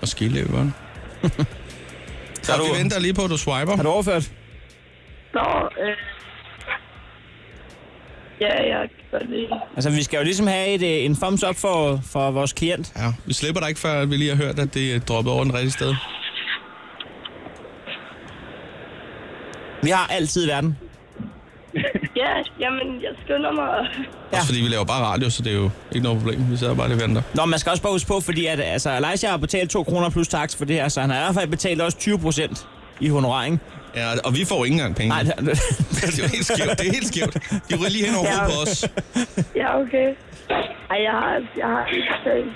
[SPEAKER 2] Og skiløberen. Så
[SPEAKER 3] Har du-
[SPEAKER 2] vi venter lige på, at du swiper.
[SPEAKER 3] Har du overført?
[SPEAKER 16] så... Øh, ja, jeg kan godt lide det.
[SPEAKER 3] Altså, vi skal jo ligesom have et, øh, en thumbs up for, for vores klient.
[SPEAKER 2] Ja, vi slipper dig ikke, før vi lige har hørt, at det er droppet over den rigtige sted.
[SPEAKER 3] Vi har altid i verden.
[SPEAKER 16] Ja, jamen, jeg skynder mig.
[SPEAKER 2] Ja. Også fordi vi laver bare radio, så det er jo ikke noget problem. Vi sidder bare lige og venter.
[SPEAKER 3] Nå, man skal også bare huske på, fordi at, altså, Elijah har betalt 2 kroner plus tax for det her, så han har i hvert fald betalt også 20 procent i honorar, ikke?
[SPEAKER 2] Ja, og vi får ikke engang penge.
[SPEAKER 3] Nej, det,
[SPEAKER 2] Det er jo helt skævt. Det er helt skævt. De ryger lige hen over hovedet på os.
[SPEAKER 16] Ja, okay. Ej, jeg har, jeg har ikke betalt.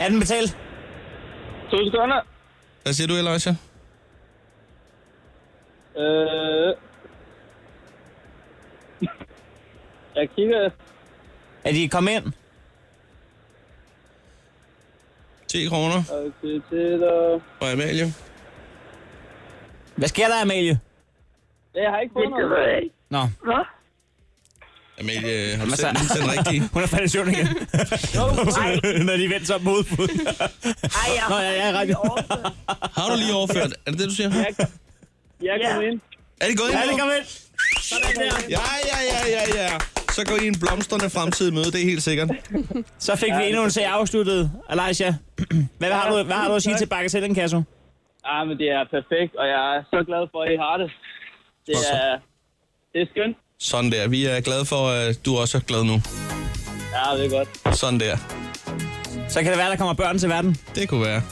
[SPEAKER 3] er den betalt?
[SPEAKER 14] To sekunder.
[SPEAKER 2] Hvad siger du, Elijah?
[SPEAKER 14] Øh, jeg kigger.
[SPEAKER 3] Er de kommet ind?
[SPEAKER 2] 10 kroner
[SPEAKER 14] Okay, til dig.
[SPEAKER 2] fra Amalie.
[SPEAKER 3] Hvad sker der, Amalie?
[SPEAKER 14] Ja, Jeg har
[SPEAKER 16] Det,
[SPEAKER 14] ikke fået
[SPEAKER 16] det
[SPEAKER 14] noget.
[SPEAKER 16] ved jeg ikke.
[SPEAKER 3] Nå,
[SPEAKER 16] Hvad?
[SPEAKER 2] Amalie, øh, har du
[SPEAKER 3] Jamen,
[SPEAKER 2] selv
[SPEAKER 3] så-
[SPEAKER 2] den rigtige?
[SPEAKER 3] Hun er faldet i søvn igen. Når de vendte sig om mod
[SPEAKER 14] Ej, jeg
[SPEAKER 3] Nå, ja, jeg er ret.
[SPEAKER 2] Har du lige overført? Er det det, du siger? Ja.
[SPEAKER 14] Jeg er kommet ind.
[SPEAKER 2] Er det gået ind
[SPEAKER 14] Ja, det
[SPEAKER 2] nu?
[SPEAKER 14] kom
[SPEAKER 3] ind.
[SPEAKER 14] Sådan der.
[SPEAKER 2] Ja, ja, ja, ja, ja. Så går I en blomstrende fremtid i møde, det er helt sikkert.
[SPEAKER 3] Så fik vi endnu en sag afsluttet. Alicia, hvad, har, du, hvad har du at sige til Bagatellen, Kasso?
[SPEAKER 14] Ah, men det er perfekt, og jeg er så glad for, at I har det. Det er, det er skønt.
[SPEAKER 2] Sådan der. Vi er glade for, at du også er glad nu.
[SPEAKER 14] Ja, det er godt.
[SPEAKER 2] Sådan der.
[SPEAKER 3] Så kan det være, der kommer børn til verden.
[SPEAKER 2] Det kunne være.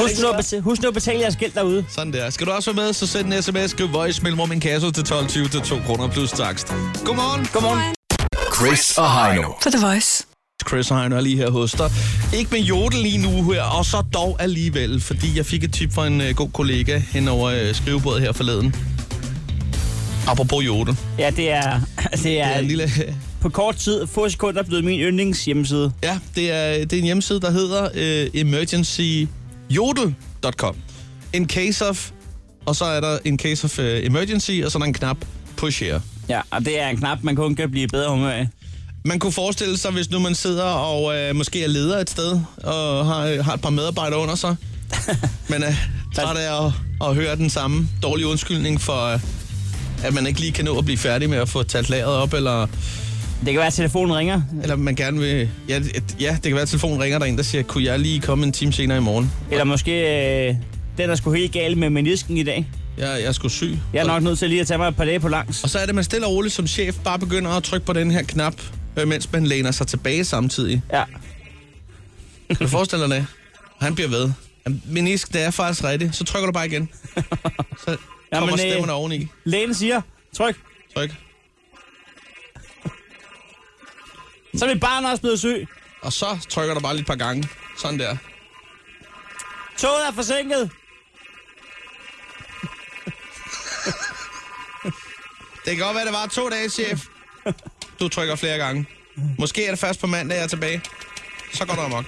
[SPEAKER 3] Husk nu at betale, husk nu at betale jeres gæld derude.
[SPEAKER 2] Sådan der. Skal du også være med, så send en sms. Skriv voice mellemrum en kasse til 12.20 til 2 kroner plus takst. Godmorgen.
[SPEAKER 3] Godmorgen.
[SPEAKER 2] Chris og Heino.
[SPEAKER 5] På The Voice.
[SPEAKER 2] Chris og Heino er lige her hos dig. Ikke med jodel lige nu her, og så dog alligevel, fordi jeg fik et tip fra en øh, god kollega hen over øh, skrivebordet her forleden. Apropos jodel.
[SPEAKER 3] Ja, det er, det er,
[SPEAKER 2] en lille...
[SPEAKER 3] på kort tid, få sekunder, blevet min yndlingshjemmeside.
[SPEAKER 2] Ja, det er, det er en hjemmeside, der hedder øh, emergencyjodel.com. In case of, og så er der in case of øh, emergency, og så er der en knap push here.
[SPEAKER 3] Ja, og det er en knap, man kun kan blive i bedre humør af.
[SPEAKER 2] Man kunne forestille sig, hvis nu man sidder og øh, måske er leder et sted, og har, øh, har et par medarbejdere under sig, men er træt af at, at høre den samme dårlige undskyldning for, øh, at man ikke lige kan nå at blive færdig med at få talt lageret op, eller...
[SPEAKER 3] Det kan være, at telefonen ringer.
[SPEAKER 2] Eller man gerne vil... Ja, et- ja, det kan være, at telefonen ringer, der er en, der siger, kunne jeg lige komme en time senere i morgen?
[SPEAKER 3] Eller måske øh, den, der skulle helt galt med menisken i dag.
[SPEAKER 2] Jeg, jeg er sgu syg.
[SPEAKER 3] Jeg er nok nødt til lige at tage mig et par dage på langs.
[SPEAKER 2] Og så er det, at man stille og roligt som chef bare begynder at trykke på den her knap, øh, mens man læner sig tilbage samtidig.
[SPEAKER 3] Ja.
[SPEAKER 2] Kan du forestille dig det? Han bliver ved. Jamen, Menisk, det er faktisk rigtigt. Så trykker du bare igen. Så kommer
[SPEAKER 3] øh,
[SPEAKER 2] Jamen, stemmerne oveni.
[SPEAKER 3] Lægen siger, tryk.
[SPEAKER 2] Tryk.
[SPEAKER 3] Så er mit barn også blevet syg.
[SPEAKER 2] Og så trykker du bare lige et par gange. Sådan der.
[SPEAKER 3] Toget er forsinket.
[SPEAKER 2] Det kan godt være, det var to dage, chef. Du trykker flere gange. Måske er det først på mandag, jeg er tilbage. Så går du amok.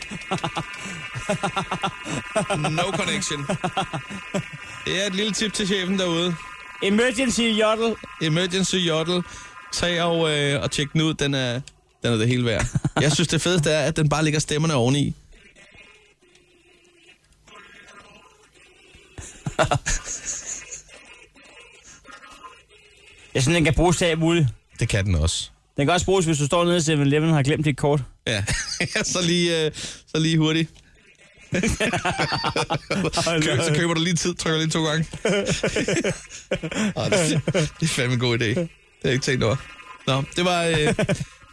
[SPEAKER 2] No connection. Det er et lille tip til chefen derude.
[SPEAKER 3] Emergency Jottel.
[SPEAKER 2] Emergency Jottel. Tag og, øh, og tjek den ud. Den er, den er det hele værd. Jeg synes, det fedeste er, at den bare ligger stemmerne oveni.
[SPEAKER 3] Jeg synes, den kan bruges til alt muligt.
[SPEAKER 2] Det kan den også.
[SPEAKER 3] Den kan også bruges, hvis du står nede i 7-Eleven og har glemt dit kort.
[SPEAKER 2] Ja, så lige, øh, så lige hurtigt. Køb, så køber du lige tid, trykker lige to gange. Ej, det, det er fandme en god idé. Det har jeg ikke tænkt over. Nå, det var, øh,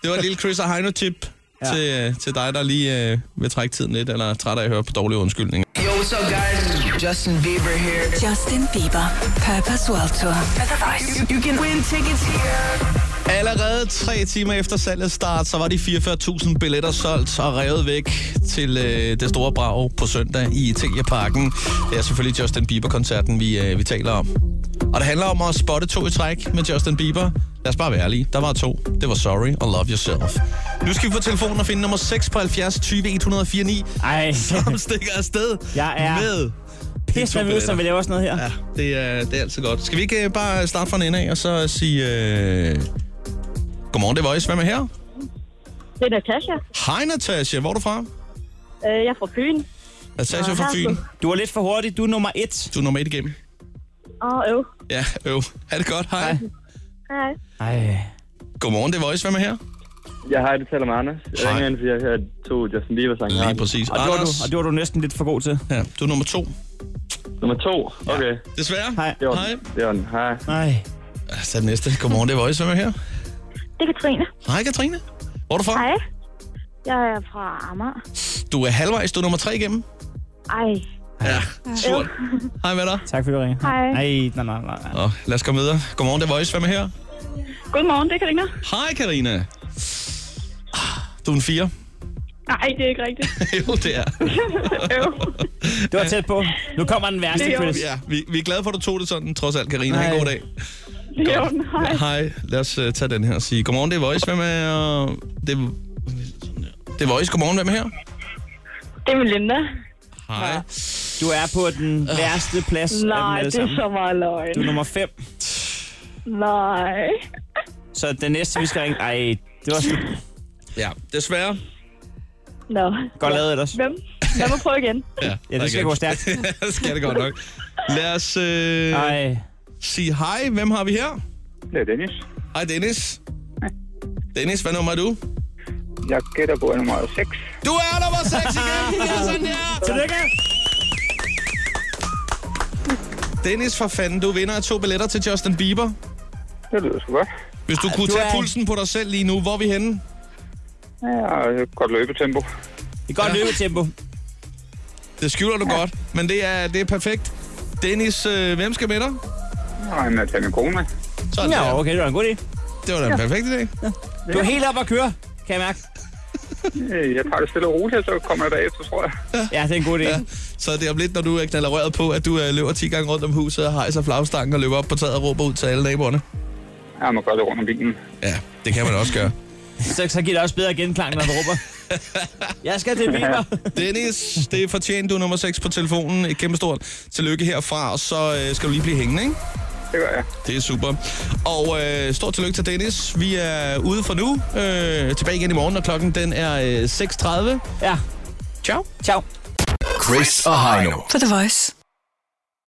[SPEAKER 2] det var et lille Chris og Heino-tip ja. til, øh, til dig, der lige øh, vil trække tiden lidt, eller er træt af at høre på dårlige undskyldninger.
[SPEAKER 5] Yo, what's up, guys? Justin Bieber here. Justin Bieber. Purpose World Tour. På The Voice. You, you can win tickets here.
[SPEAKER 2] Allerede tre timer efter salgets start, så var de 44.000 billetter solgt og revet væk til øh, det store brag på søndag i Parken. Det er selvfølgelig Justin Bieber-koncerten, vi, øh, vi taler om. Og det handler om at spotte to i træk med Justin Bieber. Lad os bare være ærlige. Der var to. Det var Sorry og Love Yourself. Nu skal vi på telefonen og finde nummer 6 på 70 20 104 9,
[SPEAKER 3] Ej.
[SPEAKER 2] som stikker afsted
[SPEAKER 3] Jeg er
[SPEAKER 2] med
[SPEAKER 3] pisse nervøs, når vi laver sådan noget her.
[SPEAKER 2] Ja, det er, det er altid godt. Skal vi ikke øh, bare starte fra en ende af og så sige... Øh... Godmorgen, det er Voice. Hvem er her?
[SPEAKER 17] Det er Natasha.
[SPEAKER 2] Hej Natasha, hvor er du fra?
[SPEAKER 17] Øh, jeg er fra Fyn.
[SPEAKER 2] Natasha
[SPEAKER 17] Nå,
[SPEAKER 2] fra Fyn.
[SPEAKER 17] Harslev.
[SPEAKER 3] Du er lidt for hurtig. Du er nummer et.
[SPEAKER 2] Du er nummer et igennem.
[SPEAKER 17] Og øv.
[SPEAKER 2] Ja, øv. Ha' det godt, hej.
[SPEAKER 17] Hej.
[SPEAKER 3] Hej.
[SPEAKER 2] Godmorgen, det er Voice. Hvem er her?
[SPEAKER 7] Jeg har det taler med Anders. Jeg ringer ind, fordi jeg hørte to Justin Bieber-sange.
[SPEAKER 2] Lige præcis.
[SPEAKER 3] Og det, var du,
[SPEAKER 2] Anders.
[SPEAKER 3] og det var du næsten lidt for god til.
[SPEAKER 2] Ja, du er nummer to.
[SPEAKER 7] Nummer to. Okay.
[SPEAKER 2] Desværre.
[SPEAKER 3] Hej.
[SPEAKER 7] Det var den.
[SPEAKER 2] Hej.
[SPEAKER 7] Det var den. Hej.
[SPEAKER 3] Nej.
[SPEAKER 2] Så er det næste. Godmorgen, det er Voice. Hvem er her?
[SPEAKER 17] Det er Katrine.
[SPEAKER 2] Hej Katrine. Hvor er du fra?
[SPEAKER 17] Hej. Jeg er fra Amager.
[SPEAKER 2] Du er halvvejs, du er nummer tre igennem.
[SPEAKER 17] Ej.
[SPEAKER 2] Ja, surt.
[SPEAKER 17] Øv.
[SPEAKER 2] Hej med dig.
[SPEAKER 3] Tak fordi du ringede.
[SPEAKER 17] Hej.
[SPEAKER 3] Nej, nej, nej, nej.
[SPEAKER 2] Og lad os komme videre. Godmorgen, det er Voice. Hvem er her?
[SPEAKER 17] Godmorgen, det er Karina.
[SPEAKER 2] Hej Karina. Ah, Du er en fire.
[SPEAKER 17] Nej, det er ikke rigtigt.
[SPEAKER 2] jo, det er.
[SPEAKER 17] øv.
[SPEAKER 3] Det var tæt på. Nu kommer den værste
[SPEAKER 17] Det er
[SPEAKER 3] quiz.
[SPEAKER 2] Ja, vi, vi er glade for, at du tog det sådan, trods alt, Karina. Ha' en
[SPEAKER 3] Nej.
[SPEAKER 2] god dag.
[SPEAKER 17] Det er orden. Hej.
[SPEAKER 2] Hej, lad os uh, tage den her og sige, godmorgen, det er Voice, hvem er... øh, Det, er- det er Voice, godmorgen, hvem er her?
[SPEAKER 17] Det er Melinda.
[SPEAKER 2] Hej.
[SPEAKER 3] Du er på den værste plads af dem
[SPEAKER 17] Nej,
[SPEAKER 3] alle
[SPEAKER 17] det er
[SPEAKER 3] sammen.
[SPEAKER 17] så meget løgn.
[SPEAKER 3] Du er nummer 5.
[SPEAKER 17] Nej.
[SPEAKER 3] Så den næste, vi skal ringe... Ej, det var slut.
[SPEAKER 2] Ja, desværre.
[SPEAKER 17] Nå.
[SPEAKER 3] Godt lavet ellers.
[SPEAKER 17] Hvem? Lad mig prøve igen.
[SPEAKER 2] Ja,
[SPEAKER 3] Ja, det skal gå stærkt.
[SPEAKER 2] det skal det godt nok. Lad os øh,
[SPEAKER 3] Ej.
[SPEAKER 2] sige hej. Hvem har vi her?
[SPEAKER 18] Det er Dennis.
[SPEAKER 2] Hej, Dennis. Dennis, hvad nummer er du?
[SPEAKER 18] Jeg gætter på nummer 6.
[SPEAKER 2] Du er nummer 6 igen! Det er sådan, det er!
[SPEAKER 3] Tillykke!
[SPEAKER 2] Dennis, for fanden, du vinder af to billetter til Justin Bieber.
[SPEAKER 18] Det lyder sgu godt.
[SPEAKER 2] Hvis du
[SPEAKER 18] Ej,
[SPEAKER 2] kunne
[SPEAKER 18] du
[SPEAKER 2] tage
[SPEAKER 18] er-
[SPEAKER 2] pulsen på dig selv lige nu, hvor er vi henne?
[SPEAKER 18] Ja, et godt løbetempo.
[SPEAKER 3] Et godt løbetempo.
[SPEAKER 2] Det skylder du godt, men det er, det er perfekt. Dennis, øh, hvem skal med dig?
[SPEAKER 18] Nej, men jeg tager min kone med.
[SPEAKER 2] Sådan
[SPEAKER 3] Ja,
[SPEAKER 2] der.
[SPEAKER 3] okay, det var en god idé.
[SPEAKER 2] Det var da en perfekt idé.
[SPEAKER 3] Du er helt op at køre, kan jeg mærke.
[SPEAKER 18] Øh, Jeg tager det stille og roligt, og så kommer jeg bagefter, tror jeg.
[SPEAKER 3] Ja, det er en god idé.
[SPEAKER 2] Ja. Så det er om lidt, når du er knalder røret på, at du øh, løber 10 gange rundt om huset og hejser flagstangen og løber op på taget og råber ud til alle naboerne.
[SPEAKER 18] Jeg må gøre det rundt om bilen.
[SPEAKER 2] Ja, det kan man også gøre.
[SPEAKER 3] Så, så giver det også bedre genklang, når du råber. Jeg skal til Bieber.
[SPEAKER 2] Dennis, det er fortjent, du er nummer 6 på telefonen. Et kæmpe stort tillykke herfra, og så øh, skal du lige blive hængende, ikke?
[SPEAKER 18] Det gør jeg.
[SPEAKER 2] Det er super. Og øh, stort tillykke til Dennis. Vi er ude for nu. Øh, tilbage igen i morgen, og klokken den er øh, 6.30.
[SPEAKER 3] Ja.
[SPEAKER 2] Ciao.
[SPEAKER 3] Ciao.
[SPEAKER 15] Chris og Heino.
[SPEAKER 5] For The Voice.